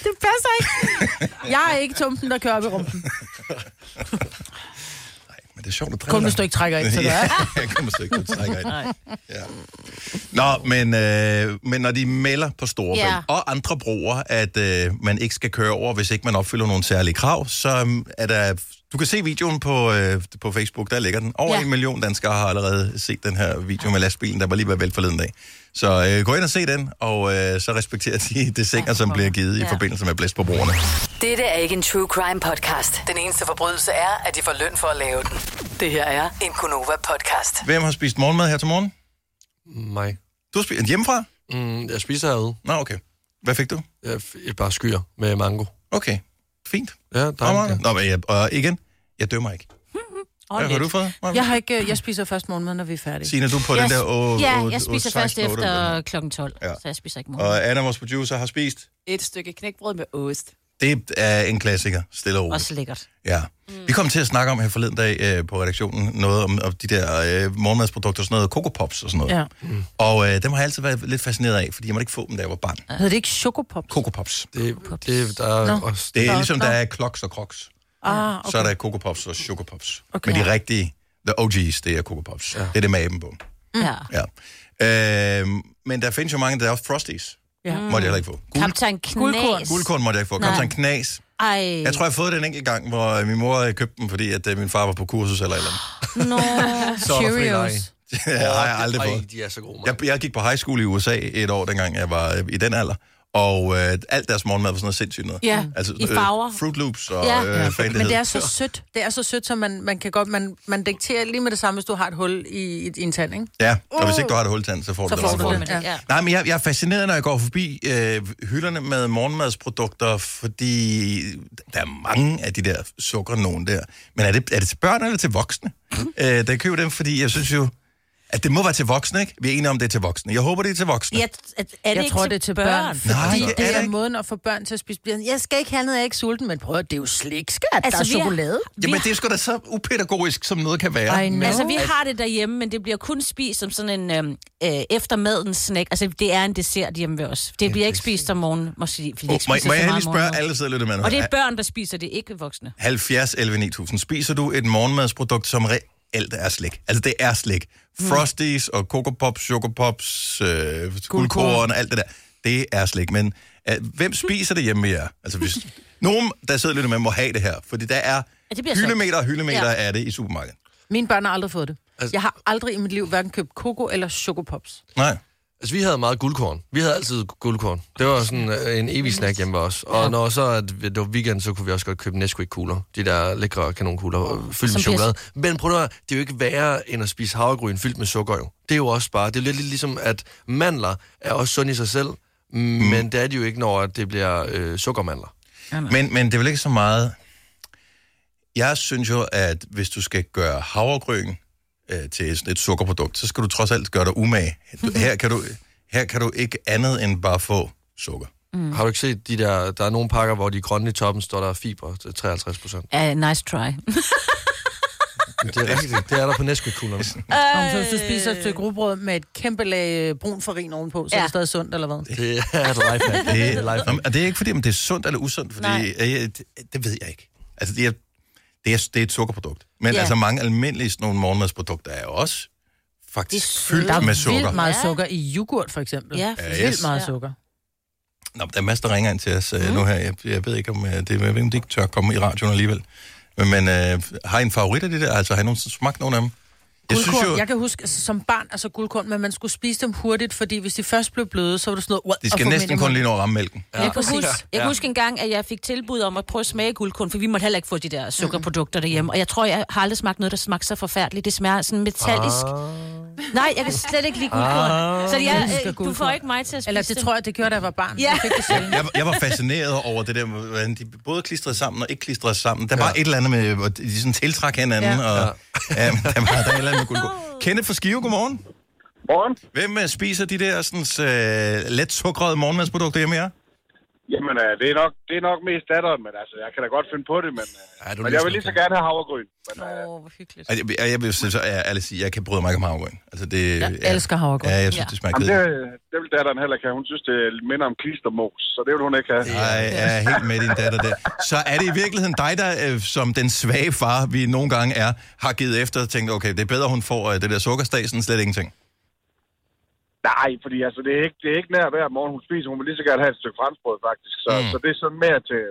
[SPEAKER 3] Det passer ikke. Jeg er ikke tumpen, der kører op i rumpen.
[SPEAKER 1] Nej, men det er sjovt at drikke.
[SPEAKER 3] Kun hvis du ikke trækker ind, så det er.
[SPEAKER 1] ja, kun hvis du ikke trækker ind. Ja. Nå, men, øh, men når de melder på Storebælt
[SPEAKER 4] Ja.
[SPEAKER 1] ja. og andre broer, at øh, man ikke skal køre over, hvis ikke man opfylder nogle særlige krav, så øhm, er der... Du kan se videoen på, øh, på Facebook, der ligger den. Over
[SPEAKER 4] Ja.
[SPEAKER 1] ja. en million danskere har allerede set den her video med lastbilen, der var lige ved at vælte forleden dag. Så øh, gå ind og se den, og øh, så respekterer de det sikker, som bliver givet ja. i
[SPEAKER 4] Ja.
[SPEAKER 1] forbindelse med blæst på broerne.
[SPEAKER 6] Dette er ikke en true crime podcast. Den eneste forbrydelse er, at de får løn for at lave den. Det her er en Gunova podcast.
[SPEAKER 1] Hvem har spist morgenmad her til morgen?
[SPEAKER 2] Mig.
[SPEAKER 1] Du har spist hjemmefra?
[SPEAKER 2] Mm, jeg spiser herude.
[SPEAKER 1] Nå, okay. Hvad fik du?
[SPEAKER 2] Jeg f- et par skyer med mango.
[SPEAKER 1] Okay, fint.
[SPEAKER 2] Ja, der
[SPEAKER 1] Nå,
[SPEAKER 2] er
[SPEAKER 1] Maja. Nå, men jeg, og igen, jeg dømmer ikke. Hvad har du fået? Maja?
[SPEAKER 3] Jeg, har ikke, øh, jeg spiser først morgenmad, når vi er færdige.
[SPEAKER 1] Signe, du er på den der... Å,
[SPEAKER 4] Ja,
[SPEAKER 1] å-
[SPEAKER 4] jeg
[SPEAKER 1] å-
[SPEAKER 4] spiser først
[SPEAKER 1] 16, otte,
[SPEAKER 4] efter
[SPEAKER 1] eller-
[SPEAKER 4] klokken 12,
[SPEAKER 1] Ja.
[SPEAKER 4] ja. så jeg spiser ikke morgen.
[SPEAKER 1] Og Anna, vores producer, har spist.
[SPEAKER 7] Et stykke knækbrød med ost.
[SPEAKER 1] Det er en klassiker, stille og roligt.
[SPEAKER 4] Også Mm. lækkert.
[SPEAKER 1] Ja. Vi kom til at snakke om her forleden dag øh, på redaktionen noget om, om de der øh, morgenmadsprodukter, sådan noget Coco Pops og sådan noget.
[SPEAKER 3] Ja.
[SPEAKER 1] Og øh, dem har jeg altid været lidt fascineret af, fordi jeg måtte ikke få dem, da jeg var barn.
[SPEAKER 3] Hedder det ikke chokopops?
[SPEAKER 1] Coco Pops.
[SPEAKER 2] det, det, der er
[SPEAKER 3] Nå.
[SPEAKER 2] også...
[SPEAKER 1] Det er
[SPEAKER 3] Nå,
[SPEAKER 1] ligesom,
[SPEAKER 3] nå.
[SPEAKER 1] der er kloks og kroks.
[SPEAKER 3] Ah, okay.
[SPEAKER 1] Så er der Coco Pops og Choco Pops.
[SPEAKER 3] Okay.
[SPEAKER 1] Men de rigtige, the OG's, det er Coco Pops. Det er det med aben på.
[SPEAKER 4] Ja.
[SPEAKER 1] Ja. Øh, men der findes jo mange, der er også Frosties.
[SPEAKER 3] Ja. Mm.
[SPEAKER 1] Ja. Måtte jeg heller ikke få. Guld,
[SPEAKER 4] Kaptajn
[SPEAKER 3] Guldkorn.
[SPEAKER 4] Knas.
[SPEAKER 1] guldkorn måtte jeg ikke få. Kom
[SPEAKER 4] Nej.
[SPEAKER 1] så en knas.
[SPEAKER 4] Ej.
[SPEAKER 1] Jeg tror, jeg har fået den enkelt gang, hvor øh, min mor øh, købte dem, fordi at øh, min far var på kursus eller et eller andet.
[SPEAKER 4] Nå.
[SPEAKER 2] Så er der fri leg.
[SPEAKER 3] Cheerios.
[SPEAKER 1] det har jeg aldrig
[SPEAKER 2] Ej,
[SPEAKER 1] fået.
[SPEAKER 2] de er så gode, mand.
[SPEAKER 1] Jeg, jeg gik på high school i USA et år, dengang jeg var øh, i den alder. Og øh, alt deres morgenmad var sådan noget sindssygt noget.
[SPEAKER 3] Ja,
[SPEAKER 1] altså,
[SPEAKER 4] i farver.
[SPEAKER 1] Øh, Fruit Loops og
[SPEAKER 4] Ja.
[SPEAKER 1] ja.
[SPEAKER 4] Ja.
[SPEAKER 1] øh, fandighed.
[SPEAKER 3] Men det er så sødt. Det er så sødt, så man, man kan godt... Man, man dikterer lige med det samme, hvis du har et hul i, i, i en tand, ikke?
[SPEAKER 1] Ja, og hvis ikke du har et hultand, så får du
[SPEAKER 3] Så
[SPEAKER 1] det.
[SPEAKER 3] får
[SPEAKER 1] også.
[SPEAKER 3] du
[SPEAKER 4] Får
[SPEAKER 3] det.
[SPEAKER 4] man det, ja.
[SPEAKER 1] Nej, men jeg, jeg er fascineret, når jeg går forbi øh, hylderne med morgenmadsprodukter, fordi der er mange af de der sukkernogen der. Men er det, er det til børn eller til voksne? øh, der køber dem, fordi jeg synes jo, at det må være til voksne, ikke? Vi er enige om, det er til voksne. Jeg håber, det er til voksne.
[SPEAKER 4] Jeg, er det
[SPEAKER 3] Jeg
[SPEAKER 4] ikke
[SPEAKER 3] tror,
[SPEAKER 4] til
[SPEAKER 3] det er til børn.
[SPEAKER 1] Nej,
[SPEAKER 3] Fordi
[SPEAKER 1] det er
[SPEAKER 3] det
[SPEAKER 1] det
[SPEAKER 3] er
[SPEAKER 1] ikke.
[SPEAKER 3] måden at få børn til at spise bliver. Jeg skal ikke have noget, jeg er ikke sulten, men prøv at det er jo slik, skat. Altså, der er
[SPEAKER 4] vi er-
[SPEAKER 3] chokolade.
[SPEAKER 1] Jamen, det er sgu da så upædagogisk, som noget kan være.
[SPEAKER 3] I know.
[SPEAKER 4] Altså, vi har det derhjemme, men det bliver kun spist som sådan en øhm, øh, eftermadens snack. Altså, det er en dessert hjemme ved os. Det bliver ikke spist om morgenen, måske, fordi oh,
[SPEAKER 1] Oh,
[SPEAKER 4] ikke
[SPEAKER 1] må,
[SPEAKER 4] spiser
[SPEAKER 1] må
[SPEAKER 4] så meget
[SPEAKER 1] jeg lige
[SPEAKER 4] om
[SPEAKER 1] spørge
[SPEAKER 4] morgenen.
[SPEAKER 1] alle, der sidder og lytter med nu?
[SPEAKER 4] Og det er børn, der spiser det, ikke voksne.
[SPEAKER 1] 70 11 9000. Spiser du et morgenmadsprodukt, som reelt er slik? Altså, det er slik.
[SPEAKER 4] Mm.
[SPEAKER 1] Frosties og Coco Pops, Choco Pops, øh, guldkorn og alt det der. Det er slik, men øh, hvem spiser det hjemme med jer? Altså, hvis, nogen, der sidder lidt med, må have det her, fordi der er
[SPEAKER 4] Ja, det bliver solgt.
[SPEAKER 1] hyldemeter og hyldemeter
[SPEAKER 4] Ja.
[SPEAKER 1] ja. af det i supermarkedet.
[SPEAKER 3] Mine børn har aldrig fået det.
[SPEAKER 2] Altså-
[SPEAKER 3] Jeg har aldrig i mit liv hverken købt koko eller chokopops.
[SPEAKER 1] Nej.
[SPEAKER 2] Altså, vi havde meget guldkorn. Vi havde altid guldkorn. Det var sådan øh, en evig snack hjemme hos os. Og når så at det var weekend, så kunne vi også godt købe Nesquik-kugler. De der lækre kanonkugler øh, fyldt
[SPEAKER 4] Som
[SPEAKER 2] med chokolade. Men prøv nu at høre, det er jo ikke værre end at spise havregryn fyldt med sukker jo. Det er jo også bare, det er lidt ligesom, at mandler er også sunde i sig selv. Men det er de jo ikke, når det bliver øh, sukkermandler.
[SPEAKER 1] Men, men det er vel ikke så meget... Jeg synes jo, at hvis du skal gøre havregryn øh, til sådan et sukkerprodukt, så skal du trods alt gøre dig umage. Du- Her kan du, her kan du ikke andet end bare få sukker.
[SPEAKER 2] Mm. Har du ikke set de der, der er nogle pakker, hvor de grønne i toppen står der er fiber til 53 procent.
[SPEAKER 4] Uh, nice try.
[SPEAKER 2] Det er rigtigt. Det er der på Nesquik-kuglerne.
[SPEAKER 3] Om så hvis du spiser et stykke rugbrød med et kæmpe lag øh, brun farin ovenpå, så ja. er
[SPEAKER 4] Ja.
[SPEAKER 3] det stadig sundt, eller hvad?
[SPEAKER 2] Det er et lifehack. Det er et
[SPEAKER 1] Nå,
[SPEAKER 2] lifehack.
[SPEAKER 1] men- Og det er ikke fordi, om det er sundt eller usundt, fordi
[SPEAKER 4] Nej.
[SPEAKER 1] øh, jeg, det, det ved jeg ikke. Altså, det er, det er, det er et sukkerprodukt. Men
[SPEAKER 4] Ja.
[SPEAKER 1] altså, mange almindelige sådan nogle morgenmadsprodukter er jo også
[SPEAKER 4] Det er
[SPEAKER 1] faktisk
[SPEAKER 4] søde.
[SPEAKER 1] fyldt
[SPEAKER 3] Der er
[SPEAKER 1] med
[SPEAKER 3] vildt
[SPEAKER 1] sukker.
[SPEAKER 3] meget
[SPEAKER 4] Ja.
[SPEAKER 3] sukker i yoghurt, for eksempel.
[SPEAKER 4] Ja,
[SPEAKER 1] Ja,
[SPEAKER 3] Vildt
[SPEAKER 1] yes.
[SPEAKER 3] meget
[SPEAKER 4] Ja.
[SPEAKER 3] sukker.
[SPEAKER 1] Nå, der er masser, der ringer ind til os
[SPEAKER 3] Mhm.
[SPEAKER 1] mm. nu her. Jeg, jeg ved ikke, om øh, det, jeg ved, ikke, om det ikke tør komme i radioen alligevel. Men, men øh, har I en favorit af det der? Altså, har I nogensinde smagt nogen af dem? Jeg
[SPEAKER 3] Guldkorn, jeg, jeg kan huske, altså, som barn, altså guldkorn, men man skulle spise dem hurtigt, fordi hvis de først blev bløde, så var det sådan noget...
[SPEAKER 1] de skal næsten kun lige nå at ramme mælken.
[SPEAKER 4] Ja. Jeg, kan huske, jeg kan huske en gang, at jeg fik tilbud om at prøve at smage guldkorn, for vi måtte heller ikke få de der sukkerprodukter derhjemme. Og jeg tror, jeg har aldrig smagt noget, der smagte så forfærdeligt. Det smager sådan metallisk. Nej, jeg kan slet ikke lide guldkorn. Så
[SPEAKER 3] Jeg
[SPEAKER 4] jeg,
[SPEAKER 3] elsker
[SPEAKER 4] øh, du får
[SPEAKER 3] guldkorn.
[SPEAKER 4] ikke mig til at spise
[SPEAKER 3] Eller det
[SPEAKER 4] dem.
[SPEAKER 3] tror jeg, det gjorde, da jeg var barn.
[SPEAKER 4] Ja.
[SPEAKER 3] Jeg fik det sjældent.
[SPEAKER 1] Jeg, jeg var fascineret over det der, hvordan de både klistrede sammen og ikke klistrede sammen. Der var et eller andet med, hvor de sådan tiltrak hinanden,
[SPEAKER 3] Ja.
[SPEAKER 1] ja. og ja. men der var der er et eller andet med guldkorn. Kenneth fra Skive, godmorgen.
[SPEAKER 8] Morgen.
[SPEAKER 1] Hvem øh, spiser de der sådan, øh, let sukkerede morgenmadsprodukter hjemme her?
[SPEAKER 8] Jamen, øh, det, er nok, det er nok mest datteren, men altså, jeg kan da godt finde på det, men, øh,
[SPEAKER 2] Ja, du
[SPEAKER 8] men
[SPEAKER 2] er
[SPEAKER 8] jeg
[SPEAKER 2] næsten
[SPEAKER 8] vil lige så
[SPEAKER 2] okay.
[SPEAKER 8] gerne have havregryn. Men,
[SPEAKER 4] Åh,
[SPEAKER 8] øh,
[SPEAKER 4] oh, hvor hyggeligt.
[SPEAKER 1] Altså, jeg, jeg, jeg vil så er ærligt sige, jeg kan bryde mig ikke om havregryn. Altså, det, jeg
[SPEAKER 3] elsker havregryn.
[SPEAKER 1] Ja, jeg synes,
[SPEAKER 4] Ja.
[SPEAKER 1] det smager
[SPEAKER 8] jamen, det,
[SPEAKER 1] kedeligt.
[SPEAKER 8] det vil datteren heller ikke have. Hun synes, det minder om klistermos, så det vil hun ikke have.
[SPEAKER 1] Jeg er helt med din datter der. Så er det i virkeligheden dig, der øh, som den svage far, vi nogle gange er, har givet efter og tænkt, okay, det er bedre, hun får øh, det der sukkerstasen, end slet ingenting.
[SPEAKER 8] Nej, fordi altså, det, er ikke, det er ikke nær hver morgen, hun spiser. Hun vil lige så gerne have et stykke franskbrød, faktisk. Så,
[SPEAKER 1] Mm.
[SPEAKER 8] mm. så det er sådan mere til...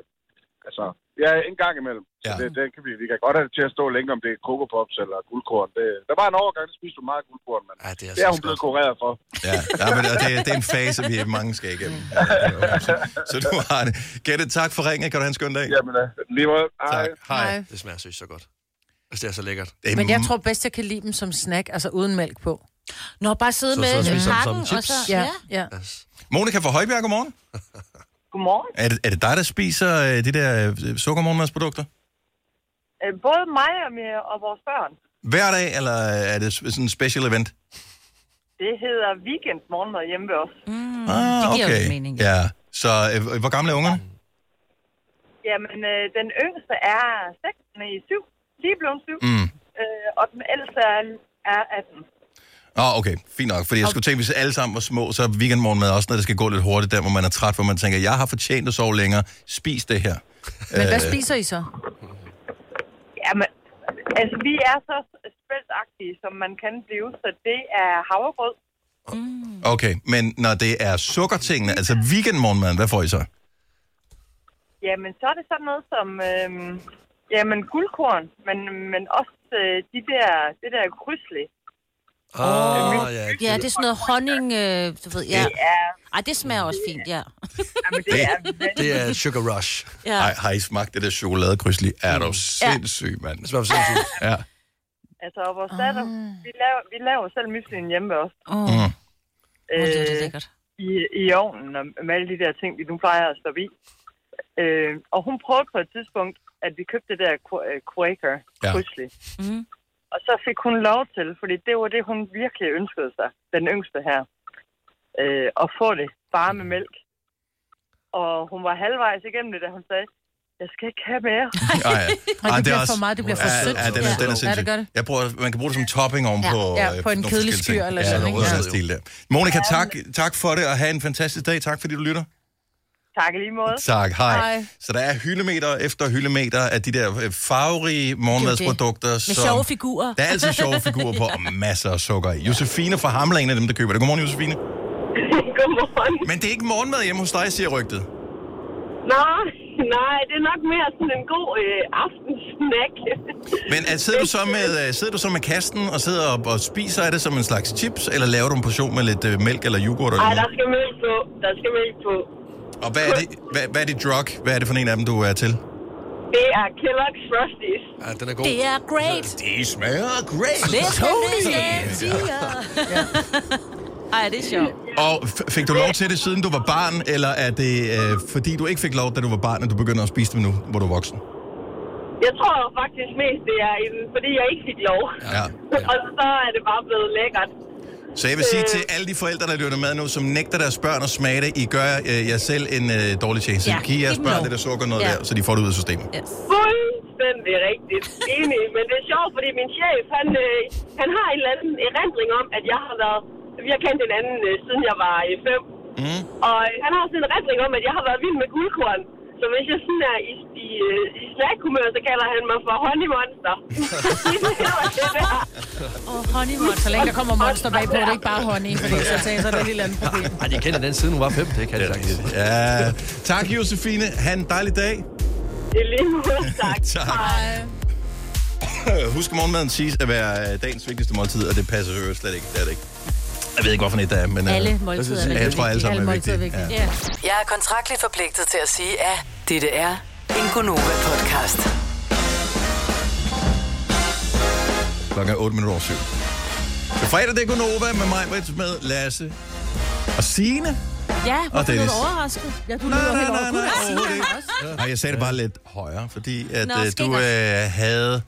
[SPEAKER 8] Altså, ja, en gang imellem. Ja. Så
[SPEAKER 1] Ja.
[SPEAKER 8] det, det kan vi, vi kan godt have det til at stå længe, om det er Coco Pops eller guldkorn. Det, der var en overgang, der spiste hun meget guldkorn, men
[SPEAKER 2] Ej, det er
[SPEAKER 8] det er
[SPEAKER 2] så
[SPEAKER 8] hun blevet
[SPEAKER 2] godt.
[SPEAKER 8] kureret for.
[SPEAKER 1] Ja, ja men, og det, det er en fase, vi mange skal igennem. Ja, det er okay. Så du har det. Gette, tak for ringen. Kan du have en skøn dag?
[SPEAKER 8] Jamen, øh, lige måde. Hej.
[SPEAKER 1] Tak. Hej.
[SPEAKER 2] Det smager seriøst så godt. Altså, det er så lækkert.
[SPEAKER 1] Det er
[SPEAKER 3] Men jeg tror bedst, jeg kan lide dem som snack, altså uden mælk på.
[SPEAKER 4] Nå, bare sidde
[SPEAKER 2] Så-
[SPEAKER 4] med
[SPEAKER 2] så spiser man
[SPEAKER 4] pakken,
[SPEAKER 2] som
[SPEAKER 4] og så...
[SPEAKER 2] chips.
[SPEAKER 4] Ja.
[SPEAKER 3] ja.
[SPEAKER 2] Yes.
[SPEAKER 1] Monika fra Højbjerg, godmorgen.
[SPEAKER 9] Godmorgen.
[SPEAKER 1] Er det, er det dig, der spiser øh, de der øh, sukkermorgenmadsprodukter?
[SPEAKER 9] Øh, Både mig og, mi- og vores børn.
[SPEAKER 1] Hver dag, eller er det s- sådan en special event?
[SPEAKER 9] Det hedder weekend morgenmad hjemme ved os.
[SPEAKER 1] Mm, ah,
[SPEAKER 4] det giver jo lidt mening.
[SPEAKER 1] Ja. Så øh, hvor gamle er ungerne?
[SPEAKER 9] Jamen, øh, den yngste er 6, den er i 7. Lige blevet 7.
[SPEAKER 1] Mm.
[SPEAKER 9] Øh, og den ældste er, er 18.
[SPEAKER 1] Ah, okay. Fint nok. Fordi jeg skulle tænke, hvis alle sammen var små, så er weekendmorgenmad også, når det skal gå lidt hurtigt, der hvor man er træt, hvor man tænker, jeg har fortjent at sove længere. Spis det her.
[SPEAKER 3] Men hvad
[SPEAKER 1] Øh.
[SPEAKER 3] spiser I så?
[SPEAKER 9] Jamen, altså, vi er så spældsagtige, som man kan blive, så det er havregrød.
[SPEAKER 4] Mm.
[SPEAKER 1] Okay, men når det er sukkertingene, altså weekendmorgenmad, hvad får I så?
[SPEAKER 9] Jamen, så er det sådan noget som, øh, jamen, guldkorn, men, men også øh, de der, det der krydsle.
[SPEAKER 2] Ah, ja.
[SPEAKER 4] ja, det er sådan noget honning, øh, du ved, ja.
[SPEAKER 9] Ja,
[SPEAKER 4] Ej, det smager også fint, ja.
[SPEAKER 9] jamen, det er
[SPEAKER 2] Det er et sugar rush.
[SPEAKER 4] ja.
[SPEAKER 1] Ej, har I smagt det der chokoladekryds lige? Er du sindssyg, mand?
[SPEAKER 2] Det smager sindssygt.
[SPEAKER 1] Ja.
[SPEAKER 9] Altså, og vores datter,
[SPEAKER 4] Ah.
[SPEAKER 9] vi laver, vi laver selv myslingen hjemme ved os. Øh,
[SPEAKER 4] Åh,
[SPEAKER 1] Mm.
[SPEAKER 4] oh, det er det lækkert.
[SPEAKER 9] i, i ovnen, og med alle de der ting, vi nu plejer at stoppe i. Øh, og hun prøvede på et tidspunkt, at vi købte det der Qu- øh, Quaker
[SPEAKER 1] Ja.
[SPEAKER 9] ja. pludselig.
[SPEAKER 4] Mhm.
[SPEAKER 9] Og så fik hun lov til, fordi det var det, hun virkelig ønskede sig, den yngste her, øh, at få det bare med mælk. Og hun var halvvejs igennem det, da hun sagde, jeg skal ikke have mere.
[SPEAKER 1] Ah, ja.
[SPEAKER 3] Nej,
[SPEAKER 1] Ej,
[SPEAKER 3] det
[SPEAKER 1] er
[SPEAKER 3] bliver
[SPEAKER 1] også-
[SPEAKER 3] for meget, det bliver for sødt.
[SPEAKER 1] Ja, ja, den er, den er
[SPEAKER 3] Ja, det
[SPEAKER 1] sindssyg.
[SPEAKER 3] gør det.
[SPEAKER 1] Jeg bruger, man kan bruge det som topping oven på,
[SPEAKER 3] Ja,
[SPEAKER 1] øh,
[SPEAKER 3] på en
[SPEAKER 1] nogle
[SPEAKER 3] kedelig
[SPEAKER 1] forskellige
[SPEAKER 3] skyr
[SPEAKER 1] ting.
[SPEAKER 3] eller
[SPEAKER 1] ja,
[SPEAKER 3] sådan,
[SPEAKER 1] noget
[SPEAKER 3] ikke?
[SPEAKER 1] i den
[SPEAKER 3] Ja.
[SPEAKER 1] stil der. Monika, tak, tak for det, og have en fantastisk dag. Tak fordi du lytter.
[SPEAKER 9] tak i lige måde.
[SPEAKER 1] Tak, hej. hej.
[SPEAKER 3] Hej.
[SPEAKER 1] Så der er hyldemeter efter hyldemeter af de der øh, farverige morgenmadsprodukter.
[SPEAKER 4] Med
[SPEAKER 1] som-
[SPEAKER 4] sjove figurer.
[SPEAKER 1] Der er altid sjove figurer på, og masser af sukker i. Josefine fra Hamla er en af dem, der køber det. Godmorgen, Josefine.
[SPEAKER 9] Godmorgen.
[SPEAKER 1] Men det er ikke morgenmad hjemme hos dig, siger rygtet.
[SPEAKER 9] Nå, nej, det er nok mere sådan en god øh, aftensnack.
[SPEAKER 1] Men altså, sidder, du så med, øh, sidder du så med kasten og sidder og, og spiser af det som en slags chips, eller laver du en portion med lidt øh, mælk eller yoghurt? Eller
[SPEAKER 9] Ej,
[SPEAKER 1] noget?
[SPEAKER 9] der skal mælk på. Der skal mælk på.
[SPEAKER 1] Og hvad er, det, hvad, hvad er det drug? Hvad er det for en af dem, du er til?
[SPEAKER 9] Det er Kellogg's Frosties.
[SPEAKER 2] Ja, den er god.
[SPEAKER 4] Det er great.
[SPEAKER 1] Det smager great.
[SPEAKER 4] Det er Tony. Ej, det er sjovt.
[SPEAKER 1] Og f- fik du lov til det, siden du var barn, eller er det øh, fordi, du ikke fik lov, da du var barn, at du begynder at spise dem nu, hvor du er voksen?
[SPEAKER 9] Jeg tror faktisk mest, det er en, fordi jeg ikke fik lov.
[SPEAKER 1] Ja.
[SPEAKER 9] og så er det bare blevet lækkert.
[SPEAKER 1] Så jeg vil sige til alle de forældre, der lytter med nu, som nægter deres børn at smage det, I gør øh, jer selv en øh, dårlig tjeneste. Ja,
[SPEAKER 4] Ja,
[SPEAKER 1] Giv jeres
[SPEAKER 4] giv dem
[SPEAKER 1] børn
[SPEAKER 4] lov.
[SPEAKER 1] det der sukker noget ja.
[SPEAKER 4] Ja.
[SPEAKER 1] der, så de får det ud af systemet.
[SPEAKER 4] Yes.
[SPEAKER 9] Fuldstændig rigtigt. Enig. Men det er sjovt, fordi min chef, han, øh, han har en eller anden erindring om, at jeg har været... Vi har kendt hinanden, øh, siden jeg var øh, fem.
[SPEAKER 1] Mm.
[SPEAKER 9] Og øh, han har sådan en erindring om, at jeg har været vild med guldkorn. Så hvis jeg sådan er i, i, øh, i slagkumør, så kalder han mig for honeymonster.
[SPEAKER 4] Og oh, honeymoon.
[SPEAKER 3] Så længe der kommer monster bagpå, det er ikke bare honning, fordi så tænker jeg, så er det et helt andet problem.
[SPEAKER 2] Ej, de kender den siden hun var fem, det kan de sagtens.
[SPEAKER 1] Ja. Tak, Josefine. Ha' en dejlig dag.
[SPEAKER 9] I lige måde, tak.
[SPEAKER 1] Tak. Øh, Husk, at morgenmaden siges at være øh, dagens vigtigste måltid, og det passer jo slet ikke. Det er det ikke. Jeg ved ikke, hvorfor det er, men... øh,
[SPEAKER 4] Alle måltider er
[SPEAKER 1] Ja, jeg
[SPEAKER 4] veldig
[SPEAKER 1] tror, alle sammen
[SPEAKER 3] Alle
[SPEAKER 1] er
[SPEAKER 3] måltider
[SPEAKER 1] vigtige.
[SPEAKER 3] er
[SPEAKER 1] Ja.
[SPEAKER 3] vigtige.
[SPEAKER 4] Ja.
[SPEAKER 6] Jeg er kontraktligt forpligtet til at sige, at dette er en Gonova-podcast.
[SPEAKER 1] Klokken er 8 minutter over 7. Det er fredag, det er Gunova med mig, Brits, med Lasse og Signe.
[SPEAKER 4] Ja,
[SPEAKER 1] Og
[SPEAKER 4] hvorfor er
[SPEAKER 1] Dennis.
[SPEAKER 4] du overrasket? Ja, du
[SPEAKER 1] Nej,
[SPEAKER 4] lyder
[SPEAKER 1] nej,
[SPEAKER 4] helt
[SPEAKER 1] nej, nej,
[SPEAKER 4] overrasket.
[SPEAKER 1] overhovedet ikke. Nej, jeg sagde det bare lidt højere, fordi at
[SPEAKER 4] Nå,
[SPEAKER 1] øh, du
[SPEAKER 4] skinger.
[SPEAKER 1] øh, havde,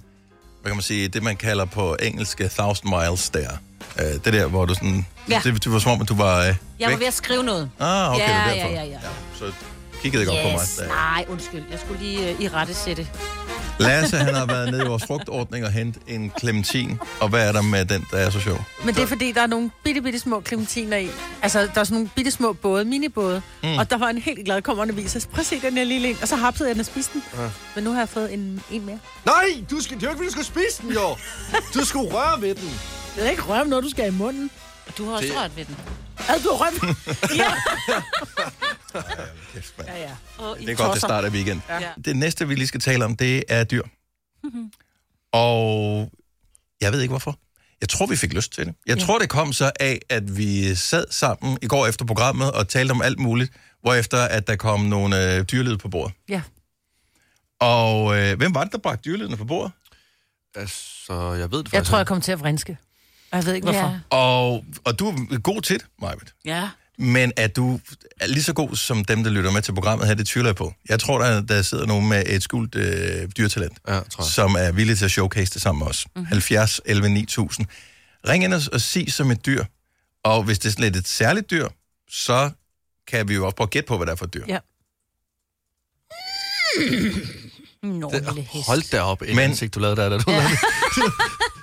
[SPEAKER 1] hvad kan man sige, det man kalder på engelsk øh, thousand miles der. Øh, det der, hvor du sådan, ja.
[SPEAKER 4] Ja.
[SPEAKER 1] det, det var som om, at du var øh,
[SPEAKER 4] Jeg var
[SPEAKER 1] væk.
[SPEAKER 4] ved at skrive noget.
[SPEAKER 1] Ah, okay,
[SPEAKER 4] Ja,
[SPEAKER 1] det var
[SPEAKER 4] ja,
[SPEAKER 1] derfor.
[SPEAKER 4] ja, ja.
[SPEAKER 1] Så kiggede godt på mig.
[SPEAKER 4] Yes. Nej, undskyld. Jeg skulle lige øh, i rette sætte.
[SPEAKER 1] Lasse, han har været nede i vores frugtordning og hentet en clementin. Og hvad er der med den, der er så sjov?
[SPEAKER 3] Men det er fordi, der er nogle bitte, bitte små klementiner i. Altså, der er sådan nogle bitte små både, minibåde.
[SPEAKER 1] Mm.
[SPEAKER 3] Mm. Og der var en helt glad kommerne viser. Prøv at se den her lille en. Og så hapsede jeg den og spiste den.
[SPEAKER 2] Ja.
[SPEAKER 3] Ja. Men nu har jeg fået en, en mere.
[SPEAKER 2] Nej, du skal, det er jo ikke, fordi du skulle spise den, jo. Du skulle røre ved den.
[SPEAKER 3] Jeg er ikke rørt noget, du skal i munden.
[SPEAKER 4] Og Du har også
[SPEAKER 2] Det-
[SPEAKER 4] rørt ved den.
[SPEAKER 3] Ad, du har rørt
[SPEAKER 1] Kæft, mand.
[SPEAKER 3] Ja, ja.
[SPEAKER 4] Og I
[SPEAKER 1] Det er godt, det
[SPEAKER 4] tosser.
[SPEAKER 1] starter weekend.
[SPEAKER 4] Ja.
[SPEAKER 1] Det næste, vi lige skal tale om, det er dyr. Og jeg ved ikke hvorfor. Jeg tror, vi fik lyst til det. Jeg tror, det kom så af, at vi sad sammen i går efter programmet og talte om alt muligt, hvorefter at der kom nogle øh, dyrlyd på bordet.
[SPEAKER 3] Ja.
[SPEAKER 1] Og øh, hvem var det, der bragte dyrlydene på bordet?
[SPEAKER 2] Altså, jeg ved det faktisk.
[SPEAKER 3] Jeg tror, jeg kommer til at vrinske. Og jeg ved ikke, hvorfor.
[SPEAKER 4] Ja.
[SPEAKER 3] Ja.
[SPEAKER 1] Og, og du er god til det, Majbet.
[SPEAKER 4] Ja.
[SPEAKER 1] Men at du er lige så god som dem, der lytter med til programmet her, det tvivler jeg på. Jeg tror, der, der sidder nogen med et skjult øh, dyrtalent,
[SPEAKER 2] Ja, tror jeg.
[SPEAKER 1] som er villige til at showcase det sammen med os. Mm-hmm. 70 11 9000. Ring ind og, og sig som et dyr. Og hvis det er sådan lidt et særligt dyr, så kan vi jo også prøve at gætte på, hvad det er for et dyr.
[SPEAKER 3] ja.
[SPEAKER 4] Nå,
[SPEAKER 2] Det,
[SPEAKER 4] lille hest.
[SPEAKER 2] hold da op, et
[SPEAKER 1] Men-
[SPEAKER 2] Men... ansigt, du lavede der, da du ja. lavede det.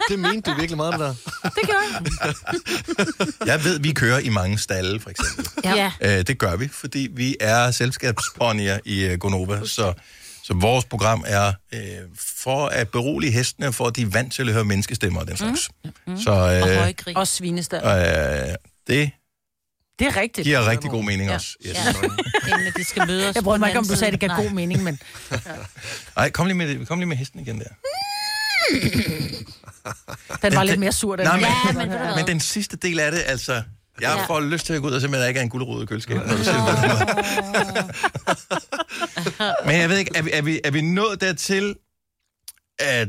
[SPEAKER 2] det mente du virkelig meget, det der.
[SPEAKER 3] Det gør jeg.
[SPEAKER 1] Jeg ved, vi kører i mange stalle, for eksempel.
[SPEAKER 4] Ja. ja.
[SPEAKER 1] Øh, det gør vi, fordi vi er selskabsponier i øh, Gonova, så, så vores program er øh, for at berolige hestene, for at de er vant til at høre menneskestemmer og den slags. Mm. Mm. Så
[SPEAKER 4] Og
[SPEAKER 1] øh,
[SPEAKER 4] højgrin.
[SPEAKER 3] Og svinestad.
[SPEAKER 1] øh, det
[SPEAKER 3] Det er rigtigt.
[SPEAKER 1] giver rigtig god mening ja. også. Yes.
[SPEAKER 4] Ja. Inden de skal mødes.
[SPEAKER 3] Jeg
[SPEAKER 4] på
[SPEAKER 3] brød
[SPEAKER 4] den
[SPEAKER 3] mig ikke, om
[SPEAKER 4] anden
[SPEAKER 3] du sagde, at det
[SPEAKER 4] side.
[SPEAKER 3] gav god mening, men...
[SPEAKER 1] Ej, kom lige, med, det- kom lige med hesten igen der.
[SPEAKER 3] Den var
[SPEAKER 1] Den-
[SPEAKER 3] lidt mere sur, den
[SPEAKER 1] Nej,
[SPEAKER 4] Ja,
[SPEAKER 3] her.
[SPEAKER 1] men-
[SPEAKER 4] men ved du
[SPEAKER 1] Men
[SPEAKER 4] hvad?
[SPEAKER 1] den sidste del af det, altså... Jeg
[SPEAKER 4] Ja.
[SPEAKER 1] får lyst til at gå ud og se, at der ikke er en gulerod i køleskabet. når du siger det. Men jeg ved ikke, er vi, er vi, er vi nået dertil, at...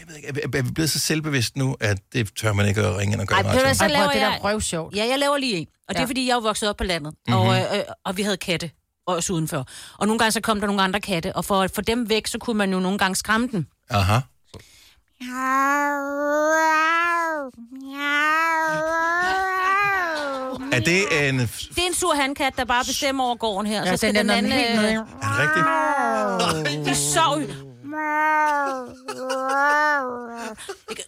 [SPEAKER 1] Jeg ved ikke, er vi, er vi blevet så selvbevidst nu, at det tør man ikke at ringe ind og gøre
[SPEAKER 4] Ej,
[SPEAKER 1] en
[SPEAKER 4] ved du hvad,
[SPEAKER 1] radio?
[SPEAKER 4] så
[SPEAKER 3] Ej, prøv,
[SPEAKER 4] laver
[SPEAKER 3] det
[SPEAKER 4] jeg...
[SPEAKER 3] der røvsjovt.
[SPEAKER 4] Ja, jeg laver lige en. Og det er,
[SPEAKER 3] Ja.
[SPEAKER 4] fordi jeg er jo vokset op på landet,
[SPEAKER 2] Mhm.
[SPEAKER 4] og, øh, øh, og vi havde katte også udenfor. Og nogle gange så kom der nogle andre katte, og for at få dem væk, så kunne man jo nogle gange skræmme dem.
[SPEAKER 1] Aha. Er det en...
[SPEAKER 4] Det er en sur handkat, der bare bestemmer over gården her.
[SPEAKER 3] Ja, den er noget helt
[SPEAKER 4] øh,
[SPEAKER 3] noget.
[SPEAKER 1] Er det rigtigt?
[SPEAKER 4] De sov jo.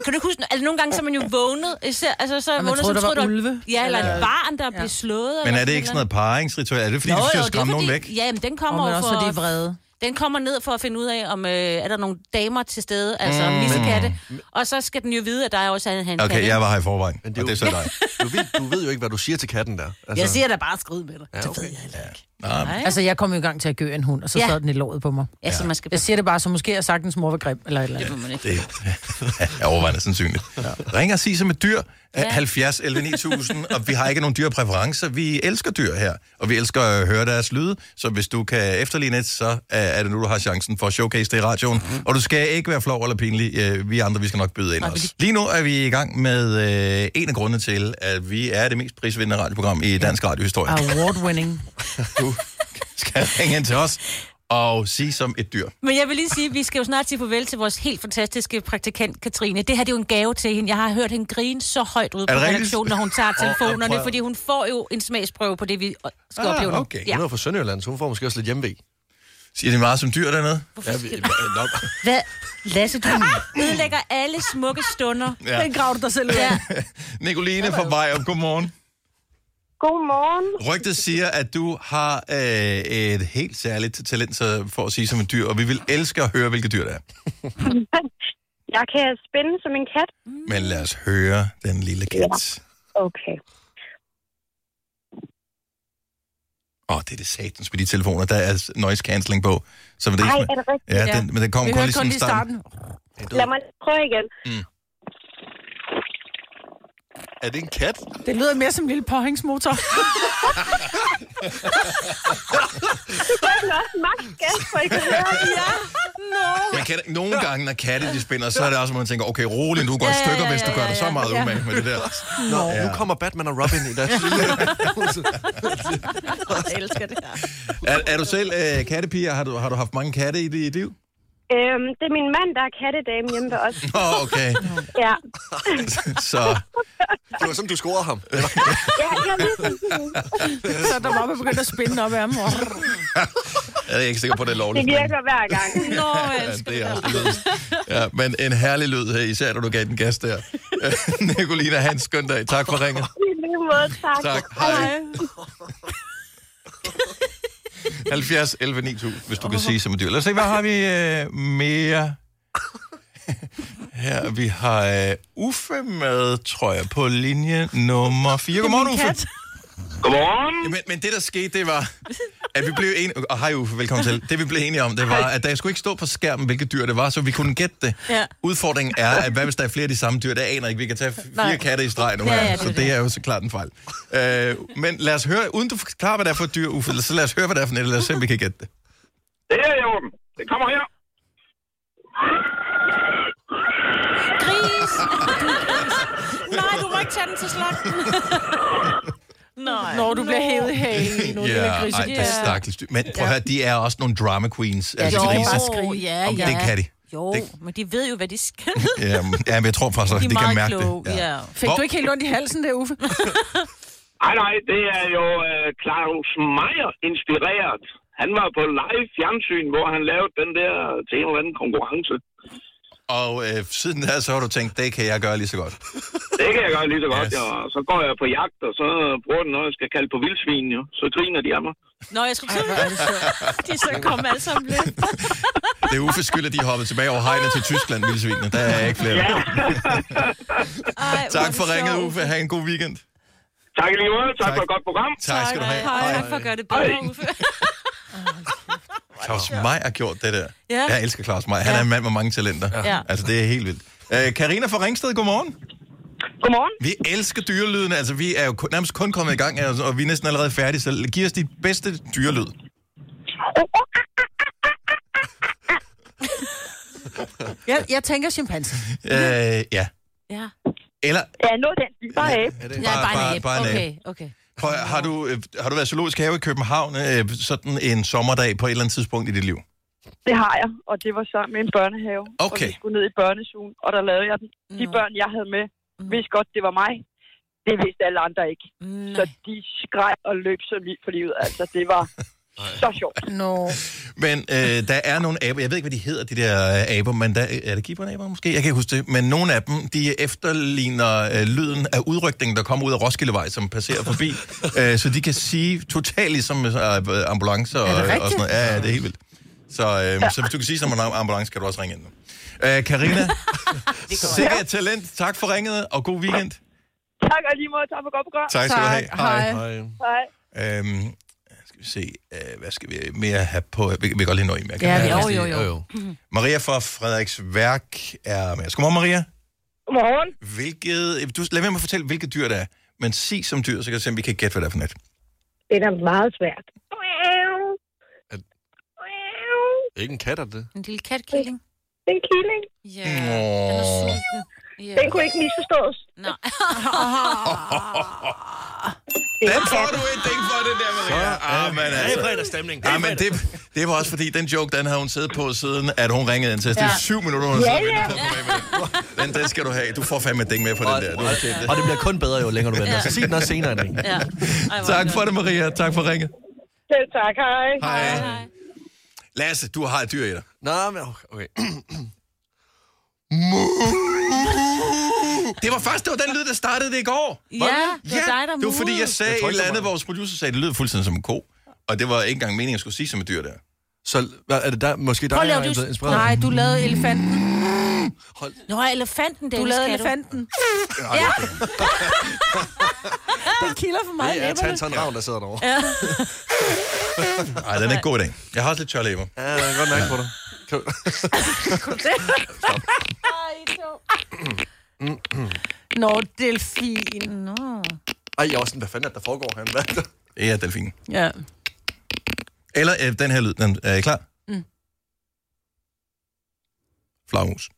[SPEAKER 4] Kan du ikke huske, altså nogle gange så er man jo vågnet, især, altså så er
[SPEAKER 3] man
[SPEAKER 4] vågnet,
[SPEAKER 3] troede,
[SPEAKER 4] så
[SPEAKER 3] der var
[SPEAKER 4] troede,
[SPEAKER 3] ulve.
[SPEAKER 4] Ja, eller et barn, der ja. blev slået.
[SPEAKER 1] Men
[SPEAKER 4] eller
[SPEAKER 1] er det ikke sådan noget parringsritual? Er det, fordi
[SPEAKER 4] Jo,
[SPEAKER 1] du skal
[SPEAKER 4] jo, det er
[SPEAKER 1] skræmme nogen
[SPEAKER 4] fordi-
[SPEAKER 1] væk?
[SPEAKER 4] Ja, men den
[SPEAKER 3] Og
[SPEAKER 4] kommer
[SPEAKER 3] man
[SPEAKER 4] jo
[SPEAKER 3] også,
[SPEAKER 4] for...
[SPEAKER 3] fordi de er vrede.
[SPEAKER 4] Den kommer ned for at finde ud af, om øh, er der nogle damer til stede, altså mm. missekatte. Og så skal den jo vide, at der er også en han
[SPEAKER 1] Okay, jeg var her i forvejen, og
[SPEAKER 2] det er
[SPEAKER 1] det er så
[SPEAKER 2] jo-
[SPEAKER 1] dig.
[SPEAKER 2] Du ved, du ved jo ikke, hvad du siger til katten der. Altså,
[SPEAKER 4] Jeg siger da bare skrid med dig. Ja,
[SPEAKER 2] okay.
[SPEAKER 4] Det ved jeg heller ikke.
[SPEAKER 3] Altså, jeg kom jo i gang til at gø en hund, og så
[SPEAKER 4] Ja.
[SPEAKER 3] sad den i låret på mig.
[SPEAKER 4] Ja, så Altså, man skal...
[SPEAKER 3] Jeg siger det bare, så måske har sagtens mor var grim, eller et eller andet.
[SPEAKER 4] Det må man ikke.
[SPEAKER 1] Det er overvejende sandsynligt. Ja. Ring og sig som et dyr. Ja. 70 11 9000, og vi har ikke nogen dyrepræferencer. Vi elsker dyr her, og vi elsker at høre deres lyde. Så hvis du kan efterligne et, så er- er det nu, du har chancen for at showcase det i radioen. Mm. Og du skal ikke være flov eller pinlig. Øh, Vi andre, vi skal nok byde ind også. Lige nu er vi i gang med øh, en af grundene til, at vi er det mest prisvindende radioprogram i dansk radiohistorie.
[SPEAKER 3] Award-winning.
[SPEAKER 1] Du skal ringe ind til os og sige som et dyr.
[SPEAKER 4] Men jeg vil lige sige, at vi skal jo snart sige farvel til vores helt fantastiske praktikant, Katrine. Det her det er jo en gave til hende. Jeg har hørt hende grine så højt ude på
[SPEAKER 1] Er det rigtigt?
[SPEAKER 4] redaktionen, når hun tager telefonerne,
[SPEAKER 1] prøv at-
[SPEAKER 4] fordi hun får jo en smagsprøve på det, vi øh, skal
[SPEAKER 1] Ah,
[SPEAKER 4] opleve nu.
[SPEAKER 1] okay.
[SPEAKER 4] Ja.
[SPEAKER 2] Hun er jo fra Sønderjylland, så hun får måske også lidt hjemmevæg.
[SPEAKER 1] Siger de meget som dyr dernede?
[SPEAKER 2] Ja, vi, nok.
[SPEAKER 4] Hvad? Lasse, du ødelægger alle smukke stunder.
[SPEAKER 1] Ah! Ja.
[SPEAKER 3] Den graver du dig selv ud af.
[SPEAKER 4] Ja.
[SPEAKER 1] Nicoline fra Vejrup, godmorgen.
[SPEAKER 9] Godmorgen.
[SPEAKER 1] Rygtet siger, at du har øh, et helt særligt talent så for at sige som et dyr, og vi vil elske at høre, hvilket dyr det er.
[SPEAKER 9] Jeg kan spænde som en kat.
[SPEAKER 1] Men lad os høre den lille kat. Åh,
[SPEAKER 9] Okay.
[SPEAKER 1] oh, det er det satans med de telefoner. Der er noise cancelling på. Så det
[SPEAKER 9] Ej,
[SPEAKER 1] ikke,
[SPEAKER 9] er det rigtigt?
[SPEAKER 1] ja, den, men den kom
[SPEAKER 3] Vi
[SPEAKER 1] kun
[SPEAKER 3] hørte
[SPEAKER 1] lige
[SPEAKER 3] kun
[SPEAKER 1] sådan i
[SPEAKER 3] lige
[SPEAKER 1] starten.
[SPEAKER 3] starten.
[SPEAKER 9] Lad mig lige prøve igen.
[SPEAKER 2] Er det en kat?
[SPEAKER 3] Det lyder mere som en lille påhængsmotor.
[SPEAKER 9] Jeg kan også max gas, for I kan høre. Ja.
[SPEAKER 1] Man kan, nogle gange, når katte de spænder, så er det også, at man tænker, okay, rolig, nu du går i
[SPEAKER 4] Ja, ja,
[SPEAKER 1] stykker,
[SPEAKER 4] ja,
[SPEAKER 1] hvis du
[SPEAKER 4] ja,
[SPEAKER 1] gør
[SPEAKER 4] ja,
[SPEAKER 1] dig så
[SPEAKER 4] ja.
[SPEAKER 1] meget umage med det der.
[SPEAKER 2] Nå, ja. nu kommer Batman og Robin i deres lille...
[SPEAKER 4] Jeg elsker det her.
[SPEAKER 1] Er, er du selv øh, kattepige? Har du, har du haft mange katte i dit liv?
[SPEAKER 10] Øhm, det er min mand, der er kattedame hjemme ved os.
[SPEAKER 1] Nå, okay.
[SPEAKER 10] Ja.
[SPEAKER 1] Så
[SPEAKER 2] Det var sådan, du scorede ham. Eller?
[SPEAKER 10] Ja, jeg ved det.
[SPEAKER 3] Så der var begyndt at spænde op af ham. og-
[SPEAKER 1] jeg er ikke sikker på, at det er
[SPEAKER 10] Det
[SPEAKER 1] lovligt.
[SPEAKER 10] virker hver gang.
[SPEAKER 4] Nå, øh, jeg
[SPEAKER 1] Ja,
[SPEAKER 4] elsker
[SPEAKER 1] det er
[SPEAKER 4] det.
[SPEAKER 1] også det ja, men en herlig lyd her, især når du gav den gas der. Nicolina, Hans, skøn dag. Tak for ringet.
[SPEAKER 10] I lige måde, tak.
[SPEAKER 1] Tak. Hej. 70 11 9000, hvis du kan sige som et dyr. Lad os se, hvad har vi øh, mere? Her, vi har øh, Uffe med, tror jeg, på linje nummer 4. Godmorgen, Uffe.
[SPEAKER 3] Kat.
[SPEAKER 8] Godmorgen.
[SPEAKER 1] Ja, Men, men det, der skete, det var, at vi blev enige... Og hej Uffe, velkommen til. Det, vi blev enige om, det var, at der skulle ikke stå på skærmen, hvilket dyr det var, så vi kunne gætte det.
[SPEAKER 4] Ja.
[SPEAKER 1] Udfordringen er, at hvad hvis der er flere af de samme dyr? Det aner jeg ikke. Vi kan tage fire
[SPEAKER 4] Nej.
[SPEAKER 1] katte i streg nu
[SPEAKER 4] Ja,
[SPEAKER 1] her,
[SPEAKER 4] ja, det er
[SPEAKER 1] så det,
[SPEAKER 4] det.
[SPEAKER 1] er jo så klart en fejl. Øh, men lad os høre, uden du forklarer, hvad det er for et dyr, Uffe, så lad os høre, hvad det er for et, lad os se, om vi kan gætte det.
[SPEAKER 8] Det er i orden. Det kommer her.
[SPEAKER 4] Gris! Du er gris. Nej, du må ikke tage den til slagten. Nej.
[SPEAKER 3] Når du bliver hævet i hagen lige nu, det er
[SPEAKER 1] Ja, ej, det er
[SPEAKER 3] grisekæt.
[SPEAKER 1] stakkels dyr. Men prøv at høre, de er også nogle drama queens. Ja, altså
[SPEAKER 4] jo,
[SPEAKER 1] grise.
[SPEAKER 4] ja,
[SPEAKER 1] Om
[SPEAKER 4] ja.
[SPEAKER 1] det kan de.
[SPEAKER 4] Jo,
[SPEAKER 1] Det-
[SPEAKER 4] men de ved jo, hvad de skal.
[SPEAKER 1] Ja, men- ja, men jeg tror faktisk, at
[SPEAKER 4] De
[SPEAKER 1] de,
[SPEAKER 4] er
[SPEAKER 1] kan
[SPEAKER 4] meget
[SPEAKER 1] mærke
[SPEAKER 4] kloge.
[SPEAKER 1] det.
[SPEAKER 4] Ja.
[SPEAKER 3] Fik du ikke helt ondt i halsen der, Uffe?
[SPEAKER 8] Nej, nej, det er jo øh, Claus Meier inspireret. Han var på live fjernsyn, hvor han lavede den der til en eller anden konkurrence.
[SPEAKER 1] Og øh, siden der, så har du tænkt, det kan jeg gøre lige så godt.
[SPEAKER 8] Det kan jeg gøre lige så godt,
[SPEAKER 1] Yes.
[SPEAKER 8] yes. og så går jeg på jagt, og så bruger den, når jeg skal kalde på vildsvin, jo. Så griner de af mig.
[SPEAKER 4] Nå, jeg skulle tro, at de så kom alle sammen lidt.
[SPEAKER 1] Det er Uffes skyld, at de er hoppet tilbage over hegnet til Tyskland, vildsvinene. Der er ikke flere. Ja.
[SPEAKER 4] Ej, hvor er
[SPEAKER 1] Tak
[SPEAKER 4] det
[SPEAKER 1] for ringet,
[SPEAKER 4] sjovt.
[SPEAKER 1] Uffe. Ha' en god weekend.
[SPEAKER 8] Tak i lige måde. Tak,
[SPEAKER 1] Tak.
[SPEAKER 8] for et godt program.
[SPEAKER 1] Tak skal du have.
[SPEAKER 4] Hej, tak for at gøre det bedre, Uffe.
[SPEAKER 1] Claus Maj har gjort det der.
[SPEAKER 4] Ja.
[SPEAKER 1] Jeg elsker Claus Maj. Han er en mand med mange talenter.
[SPEAKER 4] Ja.
[SPEAKER 1] Altså, det er helt vildt. Øh, Karina fra Ringsted, godmorgen.
[SPEAKER 9] Godmorgen.
[SPEAKER 1] Vi elsker dyrelydene. Altså, vi er jo kun, nærmest kun kommet i gang, altså, og vi er næsten allerede færdige. Så giv os dit bedste dyrelyd.
[SPEAKER 3] Jeg, jeg tænker chimpanse.
[SPEAKER 1] Øh, ja.
[SPEAKER 4] Ja.
[SPEAKER 1] Eller
[SPEAKER 10] Ja, nå den. Bare af.
[SPEAKER 4] Ja,
[SPEAKER 1] Bare-
[SPEAKER 4] bare,
[SPEAKER 1] bare-
[SPEAKER 4] en abe.
[SPEAKER 1] bare en abe.
[SPEAKER 4] Okay, okay.
[SPEAKER 1] prøv, at- har, du, øh, har du været i zoologisk have i København øh, sådan en sommerdag på et eller andet tidspunkt i dit liv?
[SPEAKER 9] Det har jeg, og det var sammen med en børnehave.
[SPEAKER 1] Okay.
[SPEAKER 9] Og vi skulle ned i børnesugen, og der lavede jeg den. De
[SPEAKER 4] Nå.
[SPEAKER 9] børn, jeg havde med,
[SPEAKER 4] Mm.
[SPEAKER 9] vidste godt, det var mig. Det vidste alle andre ikke. Så
[SPEAKER 4] Nej.
[SPEAKER 9] de skreg og løb så lige for livet. Altså, det var så sjovt.
[SPEAKER 3] Nå.
[SPEAKER 1] Men øh, der er nogle aber, jeg ved ikke, hvad de hedder, de der øh, aber, men der, er det gibberaber måske? Jeg kan ikke huske det. Men nogle af dem, de efterligner øh, lyden af udrykningen, der kommer ud af Roskildevej, som passerer forbi. øh, så de kan sige totalt ligesom øh, ambulancer og,
[SPEAKER 3] Er det
[SPEAKER 1] og sådan
[SPEAKER 3] rigtigt?
[SPEAKER 1] noget. Ja, ja, det er helt vildt. Så, øh, så hvis du kan sige som en am- ambulance, kan du også ringe ind nu. Øh, Karina, sikkert et talent. Tak for ringet, og god weekend.
[SPEAKER 9] Tak, og lige måde. Tak for godt program.
[SPEAKER 1] Tak skal du have.
[SPEAKER 3] Tak. Hej.
[SPEAKER 2] Hej.
[SPEAKER 9] Hej.
[SPEAKER 1] Øhm, skal vi se, øh, hvad skal vi mere have på? Vi, vi kan godt lige nå en mere. kan
[SPEAKER 3] Ja,
[SPEAKER 1] vi?
[SPEAKER 3] vi-
[SPEAKER 4] Jo, jo, jo.
[SPEAKER 1] Maria fra Frederiks Værk er med os. Godmorgen, Maria.
[SPEAKER 9] Godmorgen.
[SPEAKER 1] Hvilket, øh, du, lad være med at fortælle, hvilket dyr det er. Men sig som dyr, så kan jeg se, om vi kan gætte, hvad det er for net.
[SPEAKER 10] Det er da meget svært.
[SPEAKER 2] Ikke en kat, er det?
[SPEAKER 4] En lille katkilling.
[SPEAKER 10] Den killing,
[SPEAKER 4] Ja, den er sulten. Ja.
[SPEAKER 10] den kunne ikke misforstås.
[SPEAKER 4] Nej.
[SPEAKER 1] Den får du et ding for, det der, Maria. Ah, men altså.
[SPEAKER 2] fredagsstemning.
[SPEAKER 1] Ah, men det, det var også fordi, den joke, den havde hun siddet på siden, at hun ringede ind til os. Det er syv minutter, hun har siddet og ventet på mig med den. den. Den skal du have. Du får fandme et ding med på den der. Du.
[SPEAKER 2] Og det bliver kun bedre, jo længere du venter. Så sig den også senere, Nick.
[SPEAKER 4] Ja. Ej, hvor
[SPEAKER 1] Tak
[SPEAKER 4] godt.
[SPEAKER 1] for det, Maria. Tak for ringet.
[SPEAKER 9] Selv tak. Hej.
[SPEAKER 1] Hej. Lasse, du har et dyr i dig.
[SPEAKER 2] Nå, men okay. okay.
[SPEAKER 1] Det var først, det var den lyd, der startede det i går.
[SPEAKER 4] Ja, det var dig, der
[SPEAKER 1] det var fordi, jeg
[SPEAKER 4] mudede.
[SPEAKER 1] sagde
[SPEAKER 2] Jeg
[SPEAKER 1] et
[SPEAKER 2] tror ikke, der
[SPEAKER 1] eller
[SPEAKER 2] var
[SPEAKER 1] andet,
[SPEAKER 2] det.
[SPEAKER 1] vores producer sagde, at det lød fuldstændig som en ko. Og det var ikke engang meningen, at jeg skulle sige som et dyr der.
[SPEAKER 2] Så hvad, er det der, måske der,
[SPEAKER 4] Prøv at
[SPEAKER 2] jeg
[SPEAKER 4] lave
[SPEAKER 2] har
[SPEAKER 4] du...
[SPEAKER 2] inspireret?
[SPEAKER 4] Nej, du lavede...
[SPEAKER 3] elefanten.
[SPEAKER 4] Nå, elefanten, Dennis,
[SPEAKER 3] Du lavede
[SPEAKER 4] kan
[SPEAKER 3] elefanten. Ja. Den kilder for mig. i
[SPEAKER 2] Det er
[SPEAKER 3] læberne.
[SPEAKER 2] Tantan Ravn, der sidder derovre. Ja,
[SPEAKER 1] Nej, den er ikke god i dag. Jeg har også lidt tør læber.
[SPEAKER 2] ja jeg kan godt mærke på dig. Kan du-
[SPEAKER 3] Nå, delfin. Nå.
[SPEAKER 2] Ej, jeg er også sådan, hvad fanden er det, der foregår her? Hvad? er det?
[SPEAKER 1] Det er delfinen.
[SPEAKER 3] Ja.
[SPEAKER 1] Eller øh, den her lyd. Den, er I klar? Mm. Flagmus.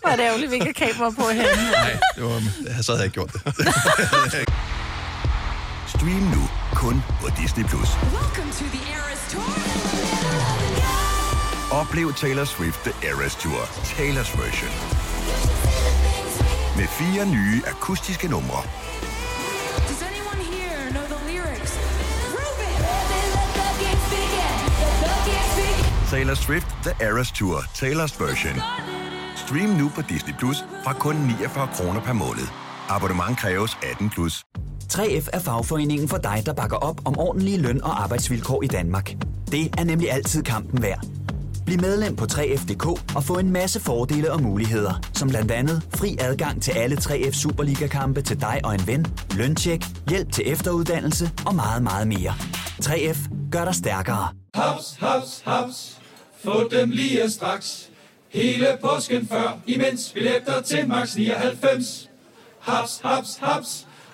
[SPEAKER 3] Hvor er det ærgerligt, vi ikke har kamera på henne.
[SPEAKER 1] Nej, det var, så havde jeg ikke gjort det.
[SPEAKER 5] Stream nu
[SPEAKER 11] kun på Disney+. Plus. Oplev Taylor Swift The Eras Tour, Taylor's version. Med fire nye akustiske numre. Taylor Swift The Eras Tour, Taylor's version. Stream nu på Disney Plus fra kun 49 kroner per måned. Abonnement kræves 18 plus.
[SPEAKER 12] 3F er fagforeningen for dig, der bakker op om ordentlige løn- og arbejdsvilkår i Danmark. Det er nemlig altid kampen værd. Bliv medlem på 3F.dk og få en masse fordele og muligheder, som blandt andet fri adgang til alle 3F Superliga-kampe til dig og en ven, løntjek, hjælp til efteruddannelse og meget, meget mere. 3F gør dig stærkere.
[SPEAKER 13] Haps, haps, haps. Få dem lige straks. Hele påsken før, imens billetter til max 99. Haps, haps, haps.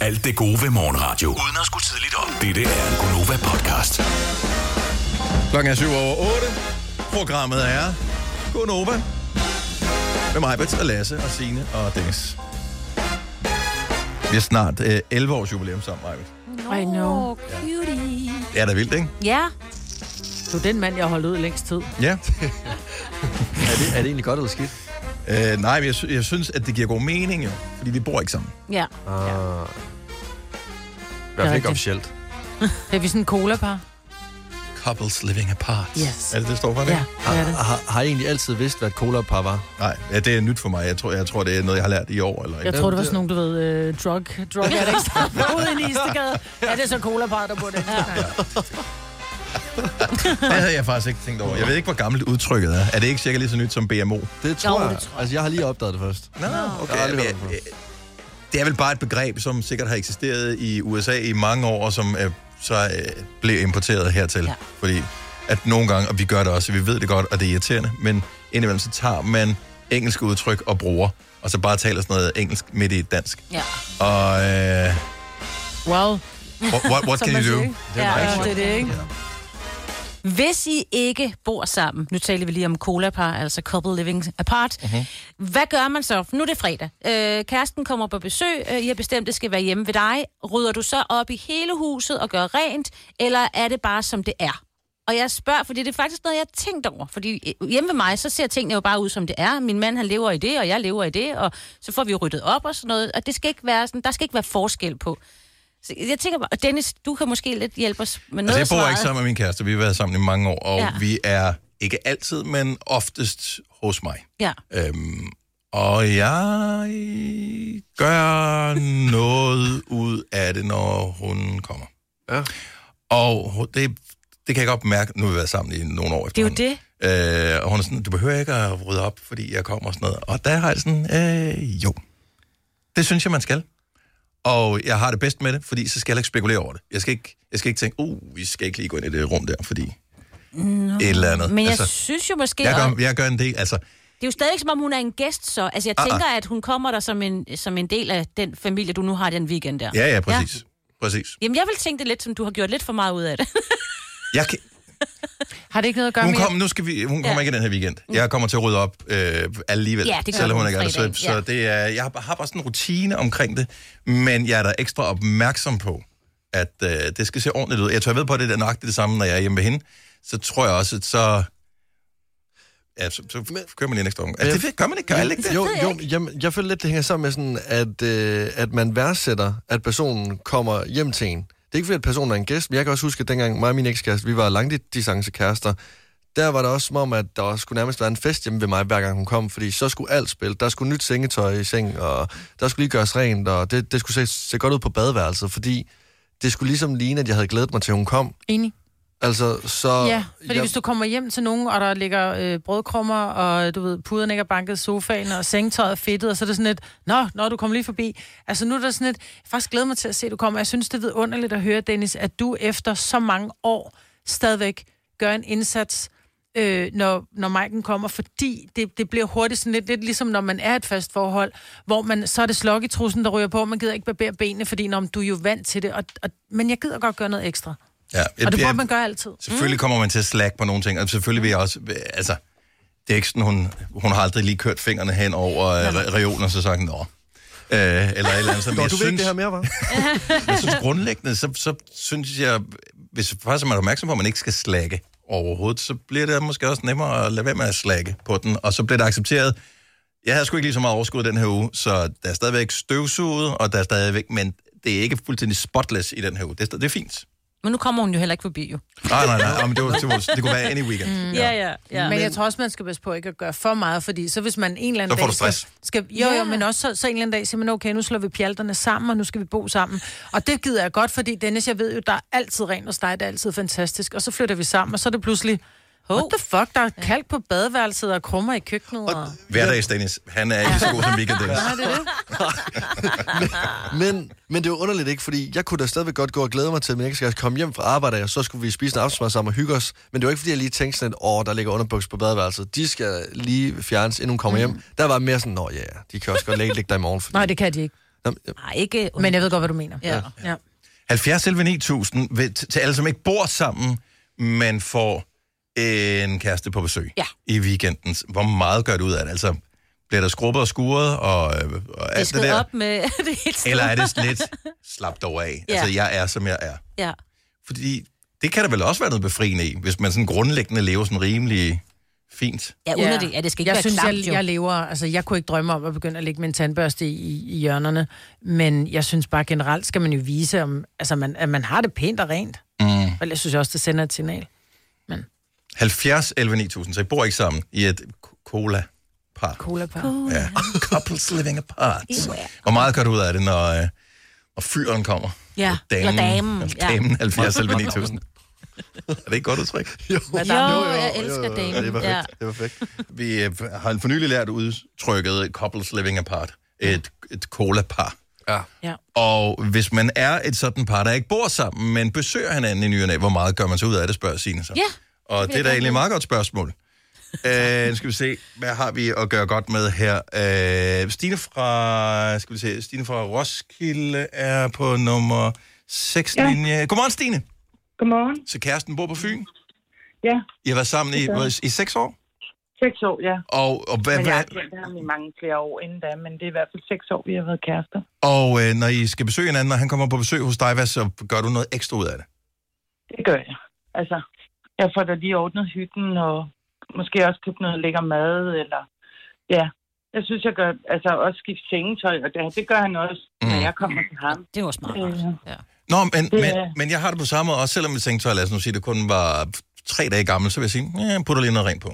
[SPEAKER 5] Alt det gode ved morgenradio. Uden at skulle tidligt op. Dette er en Gonova-podcast.
[SPEAKER 1] Klokken er 7 over 8. Programmet er Gonova. Med mig, Brits og Lasse og Signe og Dennis. Vi har snart øh, 11 års jubilæum sammen, Majbet.
[SPEAKER 3] No, I know.
[SPEAKER 4] Cutie.
[SPEAKER 1] Det er da vildt, ikke?
[SPEAKER 4] Ja.
[SPEAKER 3] Du er den mand, jeg har holdt ud længst tid.
[SPEAKER 1] Ja. er, det, er det egentlig godt eller skidt? Øh, nej, men jeg, sy- jeg synes, at det giver god mening, jo. Fordi vi bor ikke sammen.
[SPEAKER 3] Ja.
[SPEAKER 1] Uh, ja. I
[SPEAKER 3] Det er rigtigt.
[SPEAKER 1] officielt.
[SPEAKER 3] Det er vi sådan en cola-par.
[SPEAKER 1] Couples living apart.
[SPEAKER 3] Yes.
[SPEAKER 1] Er det det, det står for det?
[SPEAKER 3] Ja, det er det.
[SPEAKER 1] Har, har, har I egentlig altid vidst, hvad et cola-par var? Nej, ja, det er nyt for mig. Jeg tror, jeg tror, det er noget, jeg har lært i år. Eller
[SPEAKER 3] Jeg tror, det var sådan nogle, du ved, øh, drug, drug addicts, der var ude i en istegade. Ja, det er så cola-par, der bor det. Ja.
[SPEAKER 1] Det havde jeg faktisk ikke tænkt over. Jeg ved ikke, hvor gammelt udtrykket er. Er det ikke cirka lige så nyt som BMO?
[SPEAKER 2] Det tror jeg. Altså, jeg har lige opdaget det først.
[SPEAKER 1] Nå,
[SPEAKER 2] Jeg har
[SPEAKER 1] okay.
[SPEAKER 2] aldrig
[SPEAKER 1] Men,
[SPEAKER 2] hørt det før.
[SPEAKER 1] øh, det er vel bare et begreb, som sikkert har eksisteret i USA i mange år, og som øh, så øh, blev importeret hertil. Ja. Fordi at nogle gange, og vi gør det også, vi ved det godt, og det er irriterende, men indimellem så tager man engelske udtryk og bruger, og så bare taler sådan noget engelsk midt i et dansk.
[SPEAKER 4] Ja.
[SPEAKER 1] Og øh,
[SPEAKER 3] Well.
[SPEAKER 1] What- what- what
[SPEAKER 4] Som
[SPEAKER 1] can
[SPEAKER 4] man
[SPEAKER 1] you do?
[SPEAKER 4] siger,
[SPEAKER 1] Altså,
[SPEAKER 4] ikke?
[SPEAKER 1] Det er
[SPEAKER 4] Ja,
[SPEAKER 1] meget
[SPEAKER 4] ja,
[SPEAKER 1] sjovt.
[SPEAKER 4] det er det, ikke? Hvis I ikke bor sammen, nu taler vi lige om cola-par, altså couple living apart,
[SPEAKER 14] Mhm.
[SPEAKER 4] hvad gør man så? Nu er det fredag. Øh, kæresten kommer på besøg, øh, I har bestemt, det skal være hjemme ved dig. Rydder du så op i hele huset og gør rent, eller er det bare, som det er? Og jeg spørger, fordi det er faktisk noget, jeg har tænkt over. Fordi øh, hjemme ved mig, så ser tingene jo bare ud, som det er. Min mand, han lever i det, og jeg lever i det, og så får vi jo ryddet op og sådan noget. Og det skal ikke være sådan, der skal ikke være forskel på. Så jeg tænker bare, og Dennis, du kan måske lidt hjælpe os med noget
[SPEAKER 1] altså,
[SPEAKER 4] af
[SPEAKER 1] jeg bor
[SPEAKER 4] svaret.
[SPEAKER 1] ikke sammen med min kæreste, vi har været sammen i mange år, og
[SPEAKER 4] Ja.
[SPEAKER 1] ja. vi er ikke altid, men oftest hos mig.
[SPEAKER 4] Ja.
[SPEAKER 1] Øhm, og jeg gør noget ud af det, når hun kommer. Ja. Og hun- det, det kan jeg godt mærke, nu har vi været sammen i nogle år
[SPEAKER 4] Det er
[SPEAKER 1] efter.
[SPEAKER 4] jo det.
[SPEAKER 1] Øh, og hun er sådan, du behøver ikke at rydde op, fordi jeg kommer og sådan noget. Og der har jeg sådan, øh, jo, det synes jeg, man skal. Og jeg har det bedst med det, fordi så skal jeg ikke spekulere over det. Jeg skal ikke, jeg skal ikke tænke, uh, vi skal ikke lige gå ind i det rum der, fordi...
[SPEAKER 4] Nå.
[SPEAKER 1] Et eller andet.
[SPEAKER 4] Men jeg
[SPEAKER 1] Altså,
[SPEAKER 4] synes jo måske...
[SPEAKER 1] Jeg
[SPEAKER 4] også-
[SPEAKER 1] gør, jeg gør en del, altså...
[SPEAKER 4] Det er jo stadig ikke, som om hun er en gæst, så... Altså, jeg
[SPEAKER 1] Ah, ah.
[SPEAKER 4] tænker, at hun kommer der som en, som en del af den familie, du nu har den weekend der.
[SPEAKER 1] Ja, ja, præcis. Ja. Præcis.
[SPEAKER 4] Jamen, jeg vil tænke det lidt, som du har gjort lidt for meget ud af det.
[SPEAKER 1] Jeg kan,
[SPEAKER 3] Har det ikke noget at gøre
[SPEAKER 1] hun
[SPEAKER 3] med...
[SPEAKER 1] kom, nu skal vi, hun kommer
[SPEAKER 4] Ja.
[SPEAKER 1] ja. ikke i den her weekend. Jeg kommer til at rydde op øh, alligevel,
[SPEAKER 3] Mm. Ja, det gør
[SPEAKER 1] selvom
[SPEAKER 3] du
[SPEAKER 1] hun
[SPEAKER 3] om
[SPEAKER 1] ikke er der. Så,
[SPEAKER 3] fredagen,
[SPEAKER 1] så
[SPEAKER 3] ja.
[SPEAKER 1] det er, jeg har, bare- har bare sådan en rutine omkring det, men jeg er da ekstra opmærksom på, at øh, det skal se ordentligt ud. Jeg tror, jeg ved på, at det er nøjagtigt det samme, når jeg er hjemme ved hende. Så tror jeg også, at så... Ja, så, så kører man lige en ekstra omgang. Altså, det gør man ikke, gør alle ikke det?
[SPEAKER 2] Jo, jo jamen, jeg føler lidt, det hænger sammen med sådan, at, øh, at man værdsætter, at personen kommer hjem til en. Det er ikke fordi, at personen er en gæst, men jeg kan også huske, at dengang mig og min ekskæreste, vi var langdistancekærester, der var det også som om, at der også skulle nærmest være en fest hjemme ved mig, hver gang hun kom, fordi så skulle alt spille. Der skulle nyt sengetøj i seng, og der skulle lige gøres rent, og det, det skulle se, se godt ud på badeværelset, fordi det skulle ligesom ligne, at jeg havde glædet mig til, at hun kom.
[SPEAKER 3] Enig.
[SPEAKER 2] Altså, så...
[SPEAKER 3] Ja, fordi hvis du kommer hjem til nogen, og der ligger øh, brødkrummer, og du ved, puderne ikke er banket i sofaen, og sengetøjet er fedtet, og så er det sådan lidt, nå, nå, du kommer lige forbi. Altså nu er der sådan lidt, jeg faktisk glæder mig til at se, at du kommer. Jeg synes, det er underligt at høre, Dennis, at du efter så mange år stadigvæk gør en indsats, øh, når, når Mike'en kommer, fordi det, det bliver hurtigt sådan lidt, lidt ligesom, når man er i et fast forhold, hvor man, så er det slok i trussen, der ryger på, og man gider ikke barbere benene, fordi når, du er jo vant til det, og, og, men jeg gider godt gøre noget ekstra.
[SPEAKER 1] Ja,
[SPEAKER 3] Og det
[SPEAKER 1] jeg-
[SPEAKER 3] burde man gøre altid.
[SPEAKER 1] Selvfølgelig kommer man til at slack på nogle ting, og selvfølgelig vil jeg også... Altså, det er ikke sådan, hun, hun har aldrig lige kørt fingrene hen over øh, re- reolen, og så sagt, nå. Øh, eller et eller andet. Så,
[SPEAKER 2] Nå, du ved ikke det her mere, var?
[SPEAKER 1] jeg synes grundlæggende, så, så synes jeg, hvis faktisk man er opmærksom på, at man ikke skal slække overhovedet, så bliver det måske også nemmere at lade være med at slække på den, og så bliver det accepteret. Jeg havde sgu ikke lige så meget overskud den her uge, så der er stadigvæk støvsuget, og der er stadigvæk, men det er ikke fuldstændig spotless i den her uge. Det er, sta- det er fint.
[SPEAKER 4] Men nu kommer hun jo heller ikke forbi, jo.
[SPEAKER 1] Nej, nej, nej, nej men det, var, det, var, det kunne være any weekend.
[SPEAKER 4] Mm. Ja, ja, ja.
[SPEAKER 3] Men jeg tror også, man skal passe på ikke at gøre for meget, fordi så hvis man en eller anden
[SPEAKER 1] Så får
[SPEAKER 3] dag...
[SPEAKER 1] du stress.
[SPEAKER 3] Skal, skal, jo, jo, men også så, så en eller anden dag siger man, okay, nu slår vi pjalterne sammen, og nu skal vi bo sammen. Og det gider jeg godt, fordi Dennis, jeg ved jo, der er altid rent hos dig, det er altid fantastisk. Og så flytter vi sammen, og så er det pludselig... What the fuck, der er kalk på badeværelset og krummer i køkkenet. Og...
[SPEAKER 1] Hverdagsdennis, han er ikke så god som weekenddennis.
[SPEAKER 3] Nå, det er det.
[SPEAKER 2] Men, men det er jo underligt ikke, fordi jeg kunne da stadigvæk godt gå og glæde mig til, at min ekskæreste kom hjem fra arbejde, og så skulle vi spise en aftensmad sammen og hygge os. Men det var ikke, fordi jeg lige tænkte sådan lidt, åh, der ligger underbuks på badeværelset. De skal lige fjernes, inden hun kommer hjem. Der var mere sådan, nå ja, yeah, de kan også godt lægge, ligge der i morgen. Fordi...
[SPEAKER 3] Nej, det kan de ikke.
[SPEAKER 2] Nå, men-
[SPEAKER 4] Nej, ikke...
[SPEAKER 3] Men jeg ved godt, hvad du mener.
[SPEAKER 4] Ja.
[SPEAKER 3] ja.
[SPEAKER 1] 70 11 9000 ved- til- til alle, som ikke bor sammen, men får en kæreste på besøg
[SPEAKER 4] Ja.
[SPEAKER 1] i weekenden. Hvor meget gør det ud af det? Altså, bliver der skrubbet og skuret og, øh, og alt det
[SPEAKER 4] Disket
[SPEAKER 1] der?
[SPEAKER 4] op med det hele
[SPEAKER 1] Eller er det lidt slap dog af?
[SPEAKER 4] Ja.
[SPEAKER 1] Ja. Altså, jeg er, som jeg er.
[SPEAKER 4] Ja.
[SPEAKER 1] Fordi det kan der vel også være noget befriende i, hvis man sådan grundlæggende lever sådan rimelig fint.
[SPEAKER 4] Ja, uden at det- ja, det skal ikke
[SPEAKER 3] jeg
[SPEAKER 4] være
[SPEAKER 3] synes,
[SPEAKER 4] klamt,
[SPEAKER 3] jeg,
[SPEAKER 4] jo.
[SPEAKER 3] jeg lever, altså jeg kunne ikke drømme om at begynde at lægge min tandbørste i, i, i hjørnerne, men jeg synes bare generelt skal man jo vise, om, altså man, at man har det pænt og rent.
[SPEAKER 1] Mm.
[SPEAKER 3] Og jeg synes også, det sender et signal.
[SPEAKER 1] 70 11 9000, så I bor ikke sammen i et co- cola-par.
[SPEAKER 3] Cola på.
[SPEAKER 1] Ja. Couples living apart. Hvor meget gør du ud af det, når, øh, når fyren kommer?
[SPEAKER 4] Ja,
[SPEAKER 1] Damen,
[SPEAKER 4] eller damen.
[SPEAKER 1] Ja. Damen 70 selv 9000. Er det ikke et godt udtryk? Jo,
[SPEAKER 4] Hvad der- Jo, Jo, jo, jeg jo, elsker jo, jo. damen,
[SPEAKER 1] Det er perfekt.
[SPEAKER 4] ja.
[SPEAKER 1] Det er perfekt. Vi øh, har for nylig lært udtrykket couples living apart. Et, et cola-par. Ja.
[SPEAKER 3] Ja.
[SPEAKER 1] Og hvis man er et sådan par, der ikke bor sammen, men besøger hinanden i ny og næ, hvor meget gør man så ud af det, spørger Signe så.
[SPEAKER 4] Ja.
[SPEAKER 1] Og
[SPEAKER 4] vil
[SPEAKER 1] det
[SPEAKER 4] jeg
[SPEAKER 1] er da
[SPEAKER 4] gerne
[SPEAKER 1] egentlig
[SPEAKER 4] vide.
[SPEAKER 1] et meget godt spørgsmål. Øh, nu skal vi se, hvad har vi at gøre godt med her? Øh, Stine fra, skal vi se, Stine fra Roskilde er på nummer 6 ja.
[SPEAKER 14] Ja.
[SPEAKER 1] linje. Godmorgen, Stine.
[SPEAKER 14] Godmorgen.
[SPEAKER 1] Så kæresten bor på Fyn.
[SPEAKER 14] Ja,
[SPEAKER 1] I har været sammen i,
[SPEAKER 14] Det gør
[SPEAKER 1] i 6 år?
[SPEAKER 14] seks år, ja.
[SPEAKER 1] Og, og, hvad,
[SPEAKER 14] men jeg
[SPEAKER 1] hvad,
[SPEAKER 14] har kendt ham i mange flere år inden da, men det er i hvert fald seks år, vi har været kærester.
[SPEAKER 1] og øh, når I skal besøge hinanden, og han kommer på besøg hos dig, hvad, så gør du noget ekstra ud af det?
[SPEAKER 14] Det gør jeg. Altså, jeg får da lige ordnet hytten, og måske også købt noget lækker mad, eller ja. Jeg synes, jeg gør, altså også skifte sengetøj, og det, det gør han også, mm. når jeg kommer til ham.
[SPEAKER 4] Det var smart.
[SPEAKER 14] Øh,
[SPEAKER 4] ja.
[SPEAKER 1] Nå, men,
[SPEAKER 14] Det
[SPEAKER 1] men,
[SPEAKER 14] er-
[SPEAKER 1] men jeg har det på samme måde, også selvom vi tænkte, så lad os nu sige, det kun var tre dage gammel, så vil jeg sige, ja, jeg putter lige noget rent på.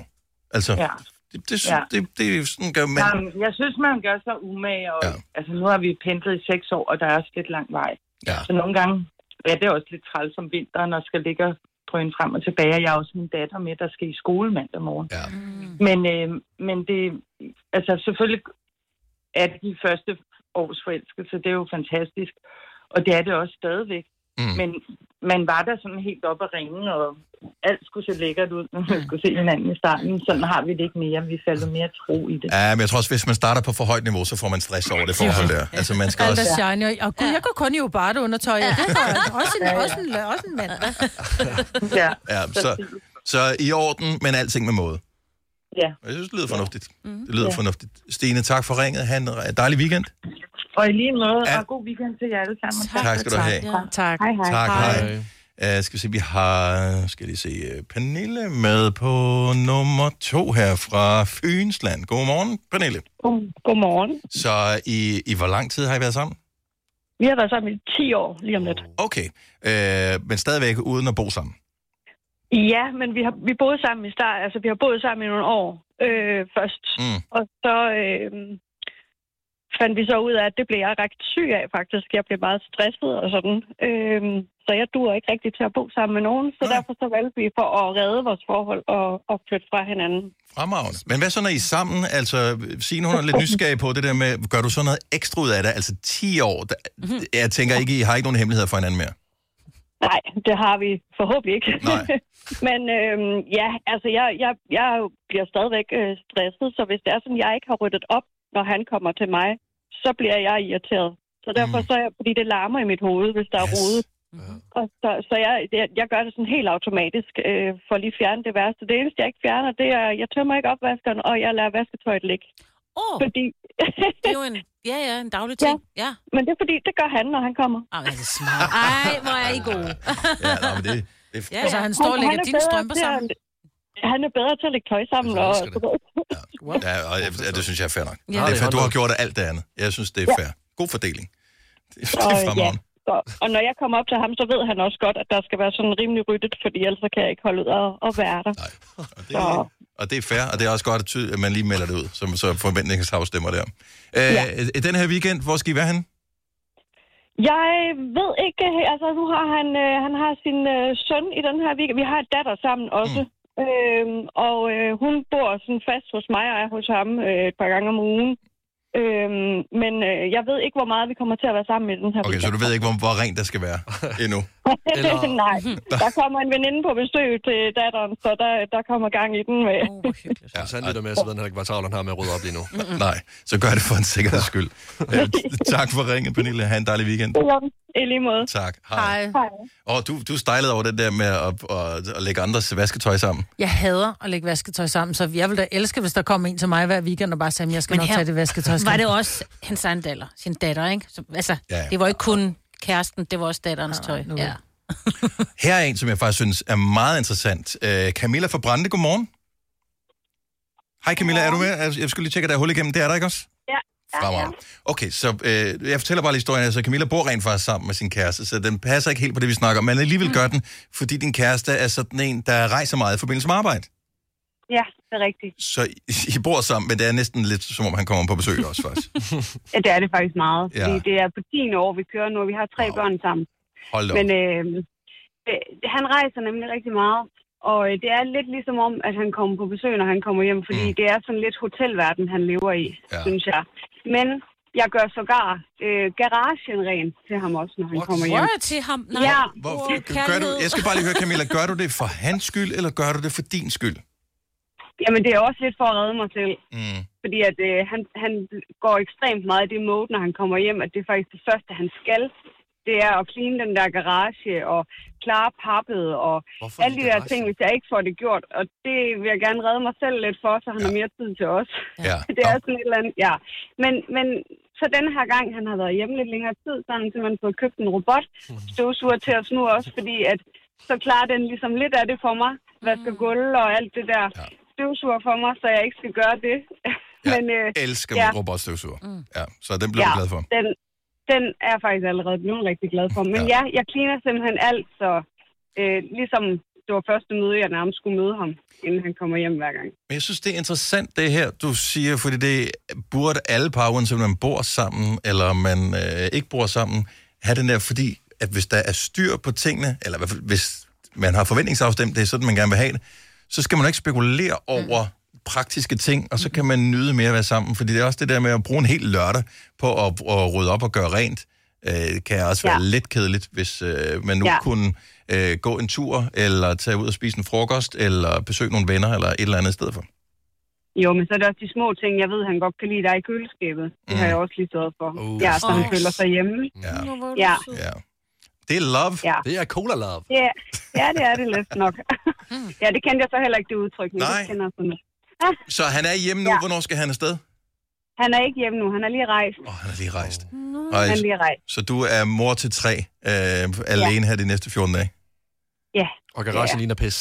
[SPEAKER 1] Altså,
[SPEAKER 14] Ja.
[SPEAKER 1] ja. det, det,
[SPEAKER 14] Ja.
[SPEAKER 1] ja. det, det, er sådan gør man.
[SPEAKER 14] Men... Jamen, jeg synes, man gør sig umage, og ja. altså, nu har vi pendlet i seks år, og der er også lidt lang vej.
[SPEAKER 1] Ja.
[SPEAKER 14] Så nogle gange ja, det er også lidt træls om vinteren, og skal ligge og drøne frem og tilbage. Jeg har også min datter med, der skal i skole mandag morgen.
[SPEAKER 1] Ja.
[SPEAKER 14] Men, øh, men det, altså selvfølgelig er det de første års forelskelse, det er jo fantastisk. Og det er det også stadigvæk.
[SPEAKER 1] Mm.
[SPEAKER 14] Men man var der sådan helt op at ringe, og alt skulle se lækkert ud, når
[SPEAKER 1] Mm.
[SPEAKER 14] man skulle se hinanden i starten. Sådan har vi det ikke mere. Vi falder mere tro i det.
[SPEAKER 1] Ja, men jeg tror også, hvis man starter på for højt niveau, så får man stress over det forhold der. Altså, man skal
[SPEAKER 3] Alt
[SPEAKER 1] også...
[SPEAKER 3] er shiny. Og, og gud, jeg går kun i Obato undertøj. Ja, det går jeg. Også en, også en, også en mand.
[SPEAKER 14] Ja,
[SPEAKER 1] Ja, så, så i orden, men alting med måde.
[SPEAKER 14] Ja. Mhm.
[SPEAKER 1] Jeg synes, det lyder fornuftigt. Det lyder fornuftigt. Stine, tak for ringet. Ha' en re- dejlig weekend.
[SPEAKER 14] Og i lige måde,
[SPEAKER 1] Ja.
[SPEAKER 14] og god weekend til jer alle sammen.
[SPEAKER 1] Tak skal du have.
[SPEAKER 3] Tak.
[SPEAKER 14] Hej, hej.
[SPEAKER 1] Tak, hej. hej. Uh, skal vi se, vi har, skal lige se, uh, Pernille med på nummer to her fra Fynsland. Godmorgen, Pernille.
[SPEAKER 10] God, godmorgen.
[SPEAKER 1] Så i, i hvor lang tid har I været sammen?
[SPEAKER 10] Vi har været sammen i 10 år lige
[SPEAKER 1] Mm.
[SPEAKER 10] om lidt.
[SPEAKER 1] Okay, uh, men stadigvæk uden at bo sammen.
[SPEAKER 10] Ja, men vi har vi boede sammen i start, altså vi har boet sammen i nogle år øh, først.
[SPEAKER 1] Mm.
[SPEAKER 10] Og så øh, fandt vi så ud af, at det blev jeg ret syg af faktisk. Jeg blev meget stresset og sådan. Øh, så jeg dur ikke rigtig til at bo sammen med nogen, så derfor så valgte vi for at redde vores forhold og, og flytte fra hinanden.
[SPEAKER 1] Fremragende. Men hvad så, når I er sammen? Altså, Signe, hun er lidt nysgerrig på det der med, gør du så noget ekstra ud af det? Altså, 10 år, der, jeg tænker ikke, I har ikke nogen hemmeligheder for hinanden mere.
[SPEAKER 10] Nej, det har vi forhåbentlig ikke.
[SPEAKER 1] Nej.
[SPEAKER 10] Men øhm, ja, altså jeg, jeg, jeg bliver stadigvæk øh, stresset, så hvis det er sådan, jeg ikke har ryddet op, når han kommer til mig, så bliver jeg irriteret. Så derfor så er jeg, fordi det larmer i mit hoved, hvis der yes. er rode. Og så, så jeg, jeg, jeg gør det sådan helt automatisk, øh, for lige at fjerne det værste. Det eneste, jeg ikke fjerner, det er, jeg tømmer ikke opvaskeren, og jeg lader vasketøjet ligge.
[SPEAKER 4] Åh, oh,
[SPEAKER 10] Fordi,
[SPEAKER 4] det er jo en, ja, ja, en daglig ting. Ja. ja.
[SPEAKER 10] men det er fordi, det gør han, når han kommer.
[SPEAKER 4] Ej, det er smart. Ej, hvor er I gode.
[SPEAKER 1] Ja, nå, men det, det
[SPEAKER 4] Ja, altså, han står og lægger
[SPEAKER 10] er
[SPEAKER 4] dine
[SPEAKER 10] bedre
[SPEAKER 4] strømper
[SPEAKER 10] til at-
[SPEAKER 4] sammen.
[SPEAKER 10] Han er bedre til at lægge tøj sammen. Og,
[SPEAKER 1] elsker Ja, og jeg, ja, det synes jeg er fair nok.
[SPEAKER 10] Ja.
[SPEAKER 1] Ja. Det er fair, du har gjort alt det andet. Jeg synes, det er
[SPEAKER 10] Ja.
[SPEAKER 1] fair. God fordeling. Det, det
[SPEAKER 10] og, ja.
[SPEAKER 1] er fremragende.
[SPEAKER 10] Så, og når jeg kommer op til ham, så ved han også godt, at der skal være sådan rimelig ryddet, fordi ellers så kan jeg ikke holde ud og, og være der.
[SPEAKER 1] Det, og det er fair, og det er også godt, at ty- at man lige melder det ud, så, så forventningsafstemmer der. Øh, ja. Den her weekend, hvor skal I være henne?
[SPEAKER 10] Jeg ved ikke, altså nu har han, øh, han har sin øh, søn i den her weekend. Vi har et datter sammen også. Mm. Øhm, og øh, hun bor sådan fast hos mig og er hos ham øh, et par gange om ugen. Øhm, men øh, jeg ved ikke, hvor meget vi kommer til at være sammen i den her
[SPEAKER 1] Okay, så du ved ikke, hvor, hvor rent der skal være endnu.
[SPEAKER 10] Eller... Nej,
[SPEAKER 1] Mm-hmm.
[SPEAKER 10] der kommer en veninde på besøg til datteren, så der, der kommer gang i den. Med.
[SPEAKER 2] Ja, Hvis han lytter med, så ved han heller ikke, hvad travlt han har med at rydde op lige nu.
[SPEAKER 1] Nej, så gør det for en sikkerheds skyld. Øh, tak for ringen, Pernille. Ha' en dejlig weekend.
[SPEAKER 10] I lige måde.
[SPEAKER 1] Tak. Hej.
[SPEAKER 3] Hej.
[SPEAKER 1] Og du, du stejlede over det der med at, at, at lægge andres vasketøj sammen.
[SPEAKER 3] Jeg hader at lægge vasketøj sammen, så jeg ville da elske, hvis der kom en til mig hver weekend og bare sagde, at jeg skal
[SPEAKER 4] Men
[SPEAKER 3] nok
[SPEAKER 4] her
[SPEAKER 3] tage det vasketøj sammen.
[SPEAKER 4] Var det også hans egen datter, sin datter, ikke? Så, altså,
[SPEAKER 1] Ja, ja.
[SPEAKER 4] det var ikke kun kæresten, det var også datterens tøj. Ja.
[SPEAKER 1] Her er en, som jeg faktisk synes er meget interessant. Øh, Camilla fra Brande, godmorgen. Hej Camilla, er du med? Jeg- Jeg skulle lige tjekke, at der er hul igennem. Det er der ikke også?
[SPEAKER 15] Ja.
[SPEAKER 1] Fremragende. Okay, så øh, jeg fortæller bare lige historien. Altså, Camilla bor rent faktisk sammen med sin kæreste, så den passer ikke helt på det, vi snakker om. Men alligevel
[SPEAKER 15] Mm.
[SPEAKER 1] gør den, fordi din kæreste er sådan en, der rejser meget i forbindelse med arbejde.
[SPEAKER 15] Ja, det er rigtigt.
[SPEAKER 1] Så I, I bor sammen, men det er næsten lidt, som om han kommer på besøg også, faktisk.
[SPEAKER 15] Ja, det er det faktisk meget.
[SPEAKER 1] Ja.
[SPEAKER 15] Ja. Fordi det er på 10 år, vi kører nu, og vi har tre wow. børn sammen.
[SPEAKER 1] Hold da op.
[SPEAKER 15] Men øh, øh, han rejser nemlig rigtig meget, og øh, det er lidt ligesom om, at han kommer på besøg, når han kommer hjem, fordi mm. det er sådan lidt hotelverden, han lever i, ja. synes jeg. Men jeg gør sågar øh, garagen ren til ham også, når han What? kommer hjem.
[SPEAKER 4] Rører til ham? Nej.
[SPEAKER 15] Ja.
[SPEAKER 1] Hvor, gør du, jeg skal bare lige høre, Camilla, gør du det for hans skyld, eller gør du det for din skyld?
[SPEAKER 15] Jamen, det er også lidt for at redde mig selv.
[SPEAKER 1] Mm.
[SPEAKER 15] Fordi at, øh, han, han går ekstremt meget i det mode, når han kommer hjem, at det er faktisk det første, han skal. Det er at clean den der garage og klare pappet og
[SPEAKER 16] Hvorfor
[SPEAKER 15] alle
[SPEAKER 16] din
[SPEAKER 15] de der
[SPEAKER 16] garage?
[SPEAKER 15] ting, hvis jeg ikke får det gjort. Og det vil jeg gerne redde mig selv lidt for, så han ja. har mere tid til os.
[SPEAKER 1] Ja.
[SPEAKER 15] det er sådan et eller andet, ja. Men, men så denne her gang, han har været hjemme lidt længere tid, så har han simpelthen fået købt en robot, støvsuger til os nu også, fordi at så klarer den ligesom lidt af det for mig, vasker gulv og alt det der ja. støvsuger for mig, så jeg ikke skal gøre det.
[SPEAKER 1] Jeg
[SPEAKER 15] men, øh,
[SPEAKER 1] elsker ja. min robotstøvsuger. Mm. Ja, så den blev ja.
[SPEAKER 15] ja,
[SPEAKER 1] du glad for.
[SPEAKER 15] Den, den er jeg faktisk allerede blevet rigtig glad for. Men ja, ja jeg cleaner simpelthen alt, så øh, ligesom det var første møde, jeg nærmest skulle møde ham, inden han kommer hjem hver gang.
[SPEAKER 1] Men jeg synes, det er interessant, det her, du siger, fordi det burde alle par, uanset om man bor sammen, eller om man øh, ikke bor sammen, have den der, fordi at hvis der er styr på tingene, eller i hvert fald, hvis man har forventningsafstemt, det er sådan, man gerne vil have det, så skal man ikke spekulere over praktiske ting, og så kan man nyde mere at være sammen, fordi det er også det der med at bruge en hel lørdag på at, at rydde op og gøre rent, øh, kan også være ja.
[SPEAKER 15] Ja.
[SPEAKER 1] lidt kedeligt, hvis øh, man nu ja.
[SPEAKER 15] Ja.
[SPEAKER 1] kunne øh, gå en tur, eller tage ud og spise en frokost, eller besøge nogle venner, eller et eller andet sted for.
[SPEAKER 15] Jo, men så er det også de små ting, jeg ved, han godt kan lide, der er i køleskabet. Det har jeg også lige stået for.
[SPEAKER 1] Mm. Uh,
[SPEAKER 15] ja, så han
[SPEAKER 1] snacks.
[SPEAKER 15] føler sig hjemme.
[SPEAKER 1] Ja.
[SPEAKER 15] Ja.
[SPEAKER 1] ja. Det er love.
[SPEAKER 15] Ja.
[SPEAKER 2] Det er cola love.
[SPEAKER 15] Ja, ja, det er det lidt nok. ja, det kendte jeg så heller ikke, det udtryk, men
[SPEAKER 1] Nej.
[SPEAKER 15] det kender jeg sådan noget.
[SPEAKER 1] Så han er hjemme nu. Ja. Hvornår skal han afsted?
[SPEAKER 15] Han er ikke hjemme nu, han er lige rejst.
[SPEAKER 1] Åh, oh, han er lige rejst.
[SPEAKER 15] Oh.
[SPEAKER 1] Ej.
[SPEAKER 15] Han er lige rejst,
[SPEAKER 1] Så du er mor til tre, øh, alene her de næste 14 dage.
[SPEAKER 15] ja.
[SPEAKER 2] Og garagen ligner pis.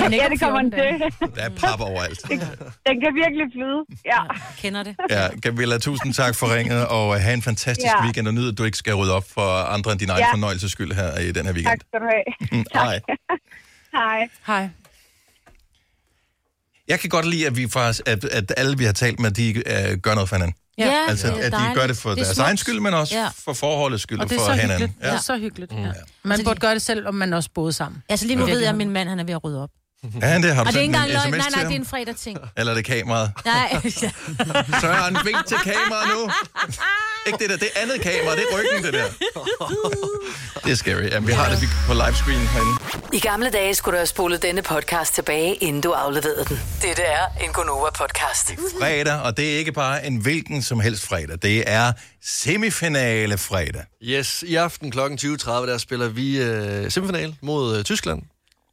[SPEAKER 15] Ja, det kommer han til.
[SPEAKER 1] Der er pap overalt.
[SPEAKER 15] Den kan virkelig flyde, ja.
[SPEAKER 4] Kender det.
[SPEAKER 1] Ja, Camilla, tusind tak for ringet, og øh, have en fantastisk
[SPEAKER 15] Ja.
[SPEAKER 1] weekend, og nyd, at du ikke skal rydde op for andre end din egen
[SPEAKER 15] Ja.
[SPEAKER 1] fornøjelses skyld her i den her
[SPEAKER 15] Tak
[SPEAKER 1] weekend. Mm,
[SPEAKER 15] skal du have.
[SPEAKER 1] Hej.
[SPEAKER 15] Hej.
[SPEAKER 3] Hej.
[SPEAKER 1] Jeg kan godt lide, at, vi faktisk, at, at alle, vi har talt med, de øh, gør noget for hinanden.
[SPEAKER 3] Ja,
[SPEAKER 1] altså,
[SPEAKER 3] det er
[SPEAKER 1] at de
[SPEAKER 3] dejligt.
[SPEAKER 1] gør det for
[SPEAKER 3] Det er
[SPEAKER 1] deres
[SPEAKER 3] smukt.
[SPEAKER 1] egen skyld, men også
[SPEAKER 3] Ja.
[SPEAKER 1] for forholdets skyld
[SPEAKER 3] Og det er
[SPEAKER 1] for
[SPEAKER 3] så
[SPEAKER 1] hinanden. Mm.
[SPEAKER 3] hyggeligt. Ja. Det er så hyggeligt. Ja. Man burde gøre det selv, om man også boede sammen.
[SPEAKER 4] Altså lige nu
[SPEAKER 3] Ja.
[SPEAKER 4] ved jeg, at min mand han er ved at rydde op.
[SPEAKER 1] Er han det? Har du
[SPEAKER 4] Og det er ikke
[SPEAKER 1] sendt
[SPEAKER 4] engang
[SPEAKER 1] en Altså, sms
[SPEAKER 4] løgn. Nej,
[SPEAKER 1] til
[SPEAKER 4] nej,
[SPEAKER 1] ham?
[SPEAKER 4] det er en fredag-ting.
[SPEAKER 1] Eller er det kameraet?
[SPEAKER 4] Nej. ja.
[SPEAKER 1] Søren, vink til kameraet nu. Ikke det der, det er andet kamera, det er ryggen, det der. Det er scary. Jamen, vi har det på livescreen herinde.
[SPEAKER 6] I gamle dage skulle du have spolet denne podcast tilbage, inden du afleverede den. Dette er en Gonova-podcast.
[SPEAKER 1] Fredag, og det er ikke bare en hvilken som helst fredag. Det er semifinale fredag.
[SPEAKER 2] Yes, i aften kl. 20.30, der spiller vi øh, semifinal mod øh, Tyskland.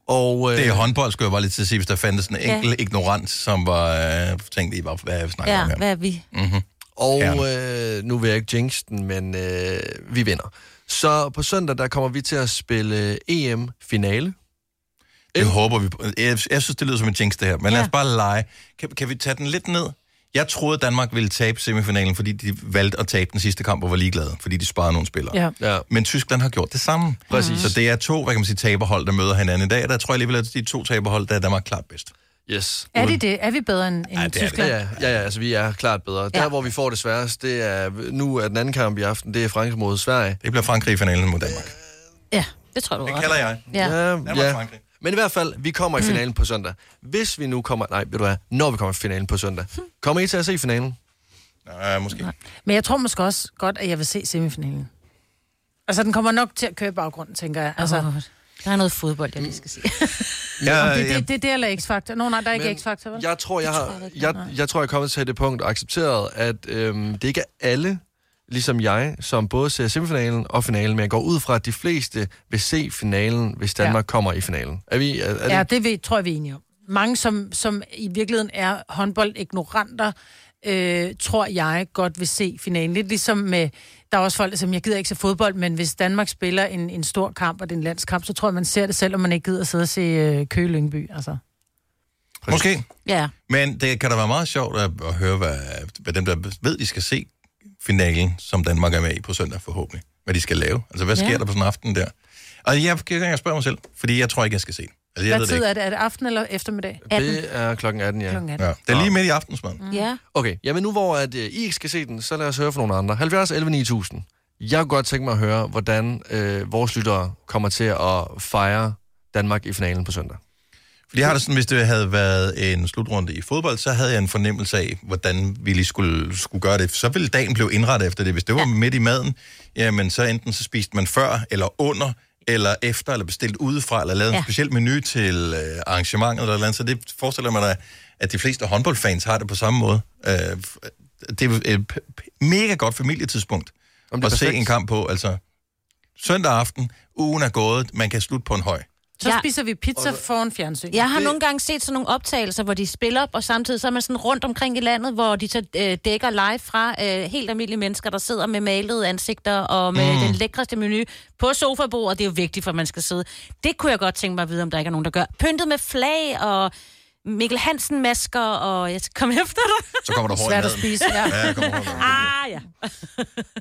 [SPEAKER 2] Og, øh,
[SPEAKER 1] Det er håndbold, skulle jeg bare lige til at sige, hvis der fandtes en
[SPEAKER 4] Ja.
[SPEAKER 1] enkelt ja. ignorant, som var øh, tænkt i, hvad, hvad snakker ja.
[SPEAKER 4] ja,
[SPEAKER 1] om her.
[SPEAKER 4] hvad er vi?
[SPEAKER 1] Mm-hmm.
[SPEAKER 2] Og øh, nu vil jeg ikke jinx den, men øh, vi vinder. Så på søndag, der kommer vi til at spille EM-finale.
[SPEAKER 1] Det håber vi på. Jeg, jeg synes, det lyder som en jinx, det her. Men ja. lad os bare lege. Kan, kan vi tage den lidt ned? Jeg troede, Danmark ville tabe semifinalen, fordi de valgte at tabe den sidste kamp og var ligeglade, fordi de sparede nogle spillere.
[SPEAKER 2] Ja. Ja.
[SPEAKER 1] Men Tyskland har gjort det samme.
[SPEAKER 2] Præcis.
[SPEAKER 1] Så det er to, hvad kan man sige, taberhold, der møder hinanden i dag. Der tror jeg alligevel, at de to taberhold, der er Danmark klart bedst.
[SPEAKER 2] Yes.
[SPEAKER 3] Er det det? Er vi bedre end, end ja, Tyskland?
[SPEAKER 2] Ja, ja, ja, altså vi er klart bedre. Ja. Der, hvor vi får det sværest, det er nu er den anden kamp i aften, det er Frankrig mod Sverige.
[SPEAKER 1] Det bliver Frankrig i finalen mod Danmark.
[SPEAKER 4] Ja, det tror du
[SPEAKER 1] Det kalder jeg.
[SPEAKER 4] Ja.
[SPEAKER 1] Danmark,
[SPEAKER 2] ja.
[SPEAKER 1] Frankrig.
[SPEAKER 2] Men i hvert fald, vi kommer i
[SPEAKER 3] Mm.
[SPEAKER 2] finalen på søndag. Hvis vi nu kommer... Nej, ved du hvad? Når vi kommer i finalen på søndag. Kommer I til at se finalen?
[SPEAKER 1] Nej, måske.
[SPEAKER 3] Men jeg tror måske også godt, at jeg vil se semifinalen. Altså, den kommer nok til at køre i baggrunden, tænker jeg. Altså,
[SPEAKER 4] Åh, der er noget fodbold, jeg lige skal sige.
[SPEAKER 1] Ja,
[SPEAKER 3] om det, det, det, det er eller X-Factor. Nå, nej, der er ikke X-Factor, vel?
[SPEAKER 2] Jeg tror, jeg, har, jeg, jeg, tror, jeg er kommet til det punkt og accepteret, at øhm, det ikke er alle, ligesom jeg, som både ser semifinalen og finalen, men jeg går ud fra, at de fleste vil se finalen, hvis Danmark ja. kommer i finalen. Er vi... Er, er
[SPEAKER 3] Ja, det ved, tror jeg, vi er enige om. Mange, som, som i virkeligheden er håndboldignoranter, øh, tror jeg godt vil se finalen. Lidt ligesom med, der er også folk, som jeg gider ikke se fodbold, men hvis Danmark spiller en, en stor kamp, og det er en landskamp, så tror jeg, man ser det selv, om man ikke gider sidde og se øh, Køge Lyngby. Altså.
[SPEAKER 1] Måske.
[SPEAKER 4] Ja.
[SPEAKER 1] Men det kan da være meget sjovt at, at høre, hvad, hvad dem, der ved, de skal se finalen, som Danmark er med i på søndag forhåbentlig. Hvad de skal lave. Altså, hvad
[SPEAKER 3] Ja.
[SPEAKER 1] sker der på sådan en aften der? Og jeg kan jeg spørger mig selv, fordi jeg tror ikke, jeg skal se den. Altså, jeg
[SPEAKER 3] Hvad
[SPEAKER 1] ved det
[SPEAKER 3] tid
[SPEAKER 1] ikke.
[SPEAKER 3] er det? Er det aften eller eftermiddag?
[SPEAKER 2] Det er klokken 18, ja.
[SPEAKER 3] Klokken 18.
[SPEAKER 1] Ja, det er lige midt i aftensmaden.
[SPEAKER 4] Ja.
[SPEAKER 2] Okay, jamen nu hvor at, øh, I ikke skal se den, så lad os høre fra nogle andre. 70 11 9000. Jeg kunne godt tænke mig at høre, hvordan øh, vores lyttere kommer til at fejre Danmark i finalen på søndag.
[SPEAKER 1] Fordi jeg har det sådan, hvis det havde været en slutrunde i fodbold, så havde jeg en fornemmelse af, hvordan vi lige skulle, skulle gøre det. Så ville dagen blive indrettet efter det. Hvis det var ja. midt i maden, jamen så enten så spiste man før, eller under, eller efter, eller bestilt udefra, eller lavet ja.
[SPEAKER 16] Ja.
[SPEAKER 1] en speciel menu til øh, arrangementet eller et eller andet. Så det forestiller man dig, at de fleste håndboldfans har det på samme måde. Øh, f- det er et p- p- mega godt familietidspunkt at
[SPEAKER 2] Jamen, det er
[SPEAKER 1] se
[SPEAKER 2] perfekt.
[SPEAKER 1] en kamp på. Altså, søndag aften, ugen er gået, man kan slutte på en høj.
[SPEAKER 3] Så ja. spiser vi pizza foran fjernsyn.
[SPEAKER 4] Jeg har nogle gange set sådan nogle optagelser, hvor de spiller op, og samtidig så er man sådan rundt omkring i landet, hvor de så øh, dækker live fra øh, helt almindelige mennesker, der sidder med malede ansigter og med
[SPEAKER 17] Mm.
[SPEAKER 4] mm. den lækreste menu på sofabordet. Det er jo vigtigt, for at man skal sidde. Det kunne jeg godt tænke mig at vide, om der ikke er nogen, der gør. Pyntet med flag og Mikkel Hansen-masker, og jeg skal komme efter dig.
[SPEAKER 1] Så kommer der hård i
[SPEAKER 4] Svært at
[SPEAKER 1] maden.
[SPEAKER 4] spise,
[SPEAKER 1] Ja,
[SPEAKER 4] ja.
[SPEAKER 1] der kommer hård i
[SPEAKER 4] ah,
[SPEAKER 1] maden.
[SPEAKER 4] ja.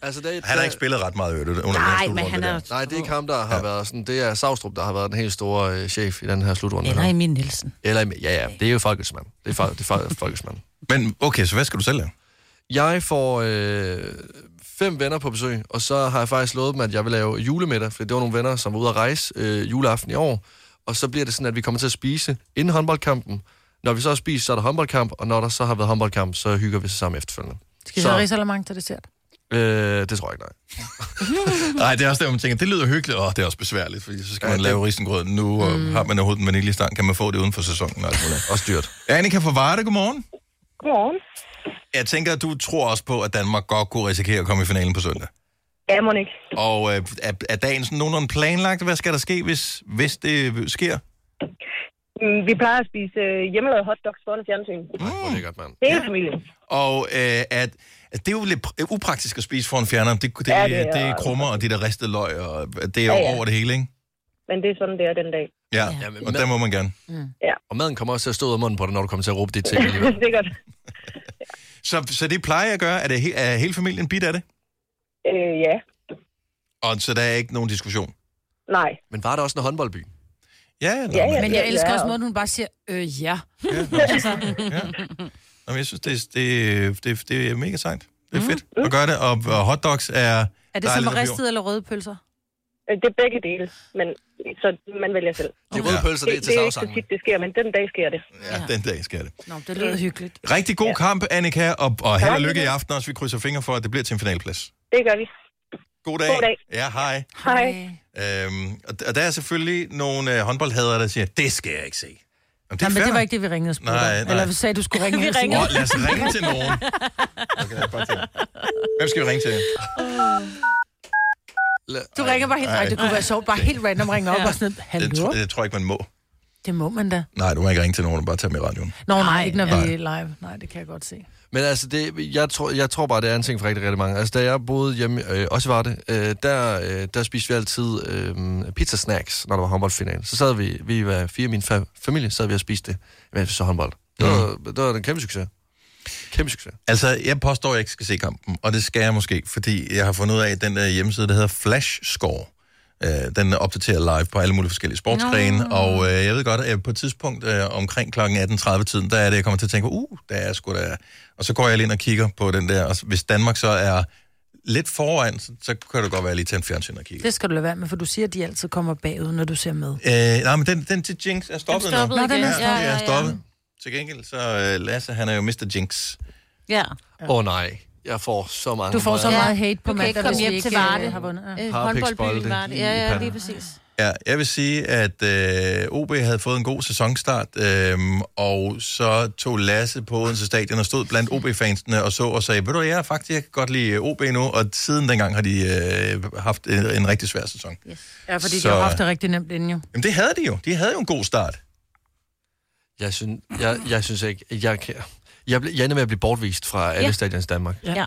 [SPEAKER 2] Altså, det,
[SPEAKER 1] Han har ikke spillet ret meget i øvrigt under
[SPEAKER 4] Nej,
[SPEAKER 1] den her
[SPEAKER 4] men
[SPEAKER 1] slutrunde
[SPEAKER 4] han er
[SPEAKER 1] der.
[SPEAKER 4] jo
[SPEAKER 2] Nej, det er ikke ham, der har ja. været sådan. Det er Savstrup, der har været den helt store øh, chef i den her slutrunde.
[SPEAKER 4] Eller
[SPEAKER 2] her.
[SPEAKER 4] Emil Nielsen.
[SPEAKER 2] Eller, Emil- ja, ja, det er jo folkets mand. Det er, fol- det er fol- folkets mand.
[SPEAKER 1] Men okay, så hvad skal du selv lave?
[SPEAKER 2] Jeg får øh, fem venner på besøg, og så har jeg faktisk lovet dem, at jeg vil lave julemiddag, for det var nogle venner, som var ude at rejse øh, juleaften i år. Og så bliver det sådan, at vi kommer til at spise inden håndboldkampen. Når vi så har spist, så er der håndboldkamp, og når der så har været håndboldkamp, så hygger vi sig sammen efterfølgende.
[SPEAKER 3] Skal vi have risalamang til dessert?
[SPEAKER 2] øh, det tror jeg ikke, nej.
[SPEAKER 1] Nej, det er også der, man tænker, det lyder hyggeligt, og det er også besværligt, fordi så skal ja, man lave risengrød nu, og
[SPEAKER 4] Mm.
[SPEAKER 1] har man overhovedet en vaniljestang, kan man få det uden for sæsonen. Og, alt muligt.
[SPEAKER 2] Også dyrt.
[SPEAKER 1] Annika fra Varde, godmorgen.
[SPEAKER 17] Godmorgen.
[SPEAKER 1] Jeg tænker, at du tror også på, at Danmark godt kunne risikere at komme i finalen på søndag.
[SPEAKER 17] Ja, Monik.
[SPEAKER 1] Og øh, er, er dagen sådan nogenlunde planlagt? Hvad skal der ske, hvis, hvis det øh, sker?
[SPEAKER 17] Mm, Vi plejer at spise øh, hjemmelavede hotdogs foran fjernsyn.
[SPEAKER 2] Hvor lækkert, mand.
[SPEAKER 17] Hele familien.
[SPEAKER 1] Og øh, at, at det er jo lidt pr- øh, upraktisk at spise foran fjerneren. Det, det,
[SPEAKER 17] Ja,
[SPEAKER 1] ja,
[SPEAKER 17] det er-
[SPEAKER 1] det, det er krummer, og det der ristede løg, og det er jo
[SPEAKER 17] Ja,
[SPEAKER 1] ja,
[SPEAKER 17] ja.
[SPEAKER 1] ja. over det hele, ikke?
[SPEAKER 17] Men det er sådan, det er den dag.
[SPEAKER 1] Ja, ja og der må man gerne.
[SPEAKER 17] Ja.
[SPEAKER 2] Og maden kommer også til at stå ud af munden på dig, når du kommer til at råbe dit ting alligevel.
[SPEAKER 17] Sikkert.
[SPEAKER 1] Så, så det plejer jeg at gøre. Er, det, he- er hele familien bit af det?
[SPEAKER 17] Øh, ja.
[SPEAKER 1] Og så der er ikke nogen diskussion?
[SPEAKER 17] Nej.
[SPEAKER 2] Men var der også en håndboldby?
[SPEAKER 1] Ja, ja.
[SPEAKER 17] Ja, ja.
[SPEAKER 3] Men jeg elsker
[SPEAKER 17] Ja.
[SPEAKER 3] også måden, hun bare siger, øh, ja.
[SPEAKER 1] Nå, men jeg synes, det, det, det, det er
[SPEAKER 17] Mhm.
[SPEAKER 1] mega sejt. Det er fedt at gøre det. Og, og hotdogs er...
[SPEAKER 3] Er det
[SPEAKER 1] der
[SPEAKER 3] som
[SPEAKER 1] lidt
[SPEAKER 3] ristede eller røde pølser?
[SPEAKER 17] Øh, Det er begge dele, men så man vælger selv.
[SPEAKER 1] De røde pølser, det er til
[SPEAKER 17] det, det er ikke så
[SPEAKER 1] savsangen.
[SPEAKER 17] tit, det sker, men den dag sker det.
[SPEAKER 1] Ja, den dag skal det.
[SPEAKER 3] Nå, det lyder hyggeligt.
[SPEAKER 1] Rigtig god ja. kamp, Annika, og, og held og
[SPEAKER 17] Tak,
[SPEAKER 1] lykke i
[SPEAKER 17] Annika.
[SPEAKER 1] aften også. Vi krydser fingre for, at det bliver til en finalplads.
[SPEAKER 17] Det gør vi.
[SPEAKER 1] God dag.
[SPEAKER 17] God dag.
[SPEAKER 1] Ja, hej.
[SPEAKER 17] Hej.
[SPEAKER 3] Øh,
[SPEAKER 1] Øhm, og, og der er selvfølgelig nogle øh, håndboldhadere, der siger, det skal jeg ikke se. Jamen,
[SPEAKER 3] Det
[SPEAKER 1] fair
[SPEAKER 3] men det var
[SPEAKER 1] nok.
[SPEAKER 3] ikke det, vi ringede og spurgte
[SPEAKER 1] Nej,
[SPEAKER 3] om.
[SPEAKER 1] nej.
[SPEAKER 3] Eller vi sagde, du skulle ringe.
[SPEAKER 1] Vi
[SPEAKER 3] og sige-
[SPEAKER 1] ringede. Åh, lad os ringe til nogen. Hvem skal vi ringe til?
[SPEAKER 3] Du ringer bare helt...
[SPEAKER 1] Ej.
[SPEAKER 3] Nej, det kunne være sjovt. Bare helt random ringe op og sådan noget.
[SPEAKER 1] Det,
[SPEAKER 3] Hallo?
[SPEAKER 1] tr- det tror jeg ikke, man må.
[SPEAKER 3] Det må man da.
[SPEAKER 1] Nej, du må ikke ringe til nogen, du bare tage med i radioen.
[SPEAKER 3] Nå, nej, ikke når
[SPEAKER 2] Nej.
[SPEAKER 3] vi er live. Nej, det kan jeg godt se.
[SPEAKER 2] Men altså, det, jeg, tror, jeg tror bare, det er en ting for rigtig, rigtig mange. Altså, da jeg boede hjemme, øh, også var det, øh, der, øh, der spiste vi altid øh, pizzasnacks, når der var håndboldfinale. Så sad vi, vi var fire i min fa- familie, sad vi og spiste det, mens vi så håndbold. Det var, det var en kæmpe succes. Kæmpe succes.
[SPEAKER 1] Altså, jeg påstår, at jeg ikke skal se kampen, og det skal jeg måske, fordi jeg har fundet ud af, at den der hjemmeside, der hedder Flash Score, øh, den opdaterer live på alle mulige forskellige sportsgrene,
[SPEAKER 5] Nå.
[SPEAKER 1] og øh, jeg ved godt, at jeg på et tidspunkt øh, omkring kl. 18.30-tiden, der er det, jeg kommer til at tænke, uh, der er sgu da... Og så går jeg lige ind og kigger på den der, og hvis Danmark så er lidt foran, så, så kan det godt være, at jeg lige tager en fjernsyn og kigger.
[SPEAKER 3] Det skal du lade være med, for du siger, at de altid kommer bagud, når du ser med.
[SPEAKER 1] Øh, nej, men den, den til Jinx er stoppet,
[SPEAKER 3] Den stoppede
[SPEAKER 1] nu.
[SPEAKER 3] Nå, den er
[SPEAKER 1] ja,
[SPEAKER 3] stoppet.
[SPEAKER 1] Ja,
[SPEAKER 3] Ja,
[SPEAKER 1] er
[SPEAKER 3] ja,
[SPEAKER 1] stoppet. Til gengæld, så øh, Lasse, han er jo Mr. Jinx.
[SPEAKER 4] Ja.
[SPEAKER 2] Åh oh, nej, jeg får så mange...
[SPEAKER 3] Du får så
[SPEAKER 2] Ja.
[SPEAKER 3] meget hate på
[SPEAKER 4] Du kan
[SPEAKER 3] mandag,
[SPEAKER 4] ikke komme
[SPEAKER 3] hvis vi
[SPEAKER 4] hjem
[SPEAKER 3] ikke,
[SPEAKER 4] til
[SPEAKER 3] øh,
[SPEAKER 4] Varde.
[SPEAKER 3] har vundet. Ja.
[SPEAKER 4] Øh,
[SPEAKER 2] Harpiksbolde
[SPEAKER 4] håndboldbyen Varde.
[SPEAKER 2] lige
[SPEAKER 4] Ja,
[SPEAKER 2] i
[SPEAKER 4] ja,
[SPEAKER 2] panden.
[SPEAKER 4] lige præcis.
[SPEAKER 1] Ja, jeg vil sige, at øh, OB havde fået en god sæsonstart, øh, og så tog Lasse på Odense Stadion og stod blandt OB-fansene og så og sagde, ved du, hvad, jeg er faktisk jeg kan godt lide OB nu, og siden dengang har de øh, haft en, en rigtig svær sæson. Yes.
[SPEAKER 3] Ja, fordi
[SPEAKER 1] Så-
[SPEAKER 3] de har haft det rigtig nemt inden jo.
[SPEAKER 1] Jamen det havde de jo. De havde jo en god start.
[SPEAKER 2] Jeg synes, jeg, jeg synes ikke, jeg kan... Jeg, ble, jeg ender med at blive bortvist fra alle
[SPEAKER 1] Ja.
[SPEAKER 2] ja. stadions i Danmark.
[SPEAKER 4] Ja.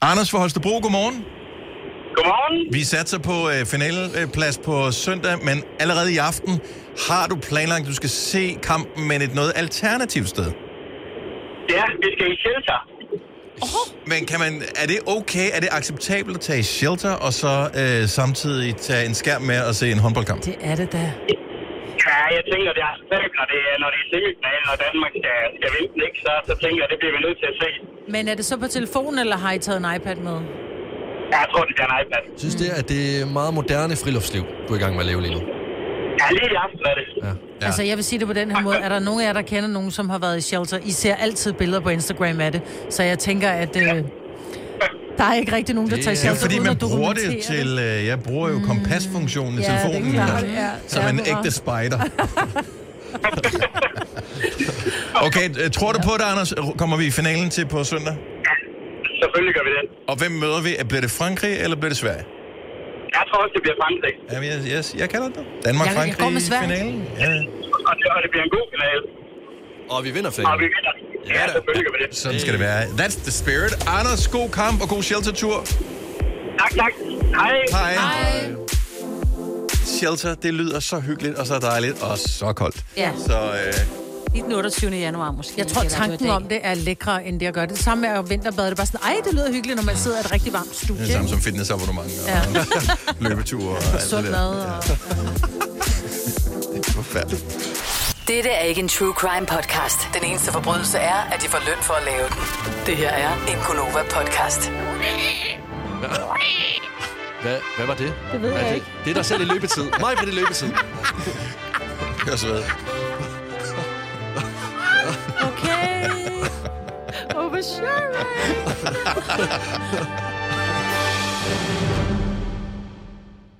[SPEAKER 1] Anders fra Holstebro, godmorgen.
[SPEAKER 8] Godmorgen.
[SPEAKER 1] Vi satser på øh, finaleplads på søndag, men allerede i aften har du planlagt, at du skal se kampen, men et noget alternativt sted.
[SPEAKER 8] Ja, vi skal i shelter.
[SPEAKER 1] Men kan man, er det okay, er det acceptabelt at tage i shelter, og så øh, samtidig tage en skærm med og se en håndboldkamp?
[SPEAKER 3] Det er det da.
[SPEAKER 8] Ja, jeg tænker, det er svært, når det, er- når det er semifinalen, og Danmark skal, skal vinde den, ikke? Så, så tænker jeg, det bliver vi nødt til at se.
[SPEAKER 3] Men er det så på telefonen, eller har I taget en iPad med?
[SPEAKER 8] Ja, jeg tror, det bliver en iPad.
[SPEAKER 2] Jeg synes, det er, at det er meget moderne friluftsliv, du er i gang med at leve lige nu.
[SPEAKER 8] Ja, lige i aften er det.
[SPEAKER 3] Ja.
[SPEAKER 2] Ja.
[SPEAKER 3] Altså, jeg vil sige det på den her måde. Er der nogen af jer, der kender nogen, som har været i shelter? I ser altid billeder på Instagram af det. Så jeg tænker, at øh, der er ikke rigtig nogen, der tager i
[SPEAKER 1] det er
[SPEAKER 3] shelter.
[SPEAKER 1] fordi,
[SPEAKER 3] uden
[SPEAKER 1] man
[SPEAKER 3] at
[SPEAKER 1] bruger det
[SPEAKER 3] dokumentere
[SPEAKER 1] til... Øh, jeg bruger jo kompasfunktionen i
[SPEAKER 3] Ja, det er
[SPEAKER 1] telefonen,
[SPEAKER 3] klart,
[SPEAKER 1] øh,
[SPEAKER 3] ja.
[SPEAKER 1] som
[SPEAKER 3] Ja,
[SPEAKER 1] en
[SPEAKER 3] hurra.
[SPEAKER 1] ægte spider. okay, øh, tror du på det, Anders? Kommer vi i finalen til på søndag?
[SPEAKER 8] Selvfølgelig gør vi det.
[SPEAKER 1] Og hvem møder vi? Bliver det Frankrig, eller bliver det Sverige?
[SPEAKER 8] Jeg tror også, det bliver Frankrig.
[SPEAKER 1] Jamen, jeg, jeg, jeg kalder det. Danmark,
[SPEAKER 8] Jeg- jeg går
[SPEAKER 1] Frankrig
[SPEAKER 8] med
[SPEAKER 1] i
[SPEAKER 8] Sverige.
[SPEAKER 1] finalen. Ja.
[SPEAKER 8] Og det, og det bliver en god finale.
[SPEAKER 2] Og vi vinder
[SPEAKER 8] Og vi vinder. Ja, selvfølgelig gør vi det.
[SPEAKER 1] Sådan skal det være. That's the spirit. Anders, god kamp og god sheltertur.
[SPEAKER 8] Tak, tak. Hej.
[SPEAKER 1] Hej. Shelter, det lyder så hyggeligt og så dejligt og så koldt.
[SPEAKER 4] Ja.
[SPEAKER 1] Så øh,
[SPEAKER 4] Lige den 28. januar måske.
[SPEAKER 3] Jeg tror,
[SPEAKER 4] gælder det jo i
[SPEAKER 3] tanken
[SPEAKER 4] dag.
[SPEAKER 3] om det er lækre, end det at gøre det. Det samme med at vinterbade. Det er bare sådan, ej, det lyder hyggeligt, når man sidder i et rigtig varmt studie.
[SPEAKER 1] det er det samme som fitnessabonnement og
[SPEAKER 3] Ja.
[SPEAKER 1] løbeture og alt det
[SPEAKER 3] Sund
[SPEAKER 1] der.
[SPEAKER 3] mad og...
[SPEAKER 1] Det er forfærdeligt.
[SPEAKER 6] Dette er ikke en true crime podcast. Den eneste forbrydelse er, at de får løn for at lave den. Det her er en Gunova-podcast.
[SPEAKER 2] Hvad, hvad var det?
[SPEAKER 6] Det
[SPEAKER 2] Hvad
[SPEAKER 6] ved
[SPEAKER 2] er
[SPEAKER 6] jeg
[SPEAKER 2] det?
[SPEAKER 6] ikke.
[SPEAKER 2] Det er dig selv i løbetid. Mig på det er løbetid.
[SPEAKER 1] Hør så ved.
[SPEAKER 3] Okay. Oversharing.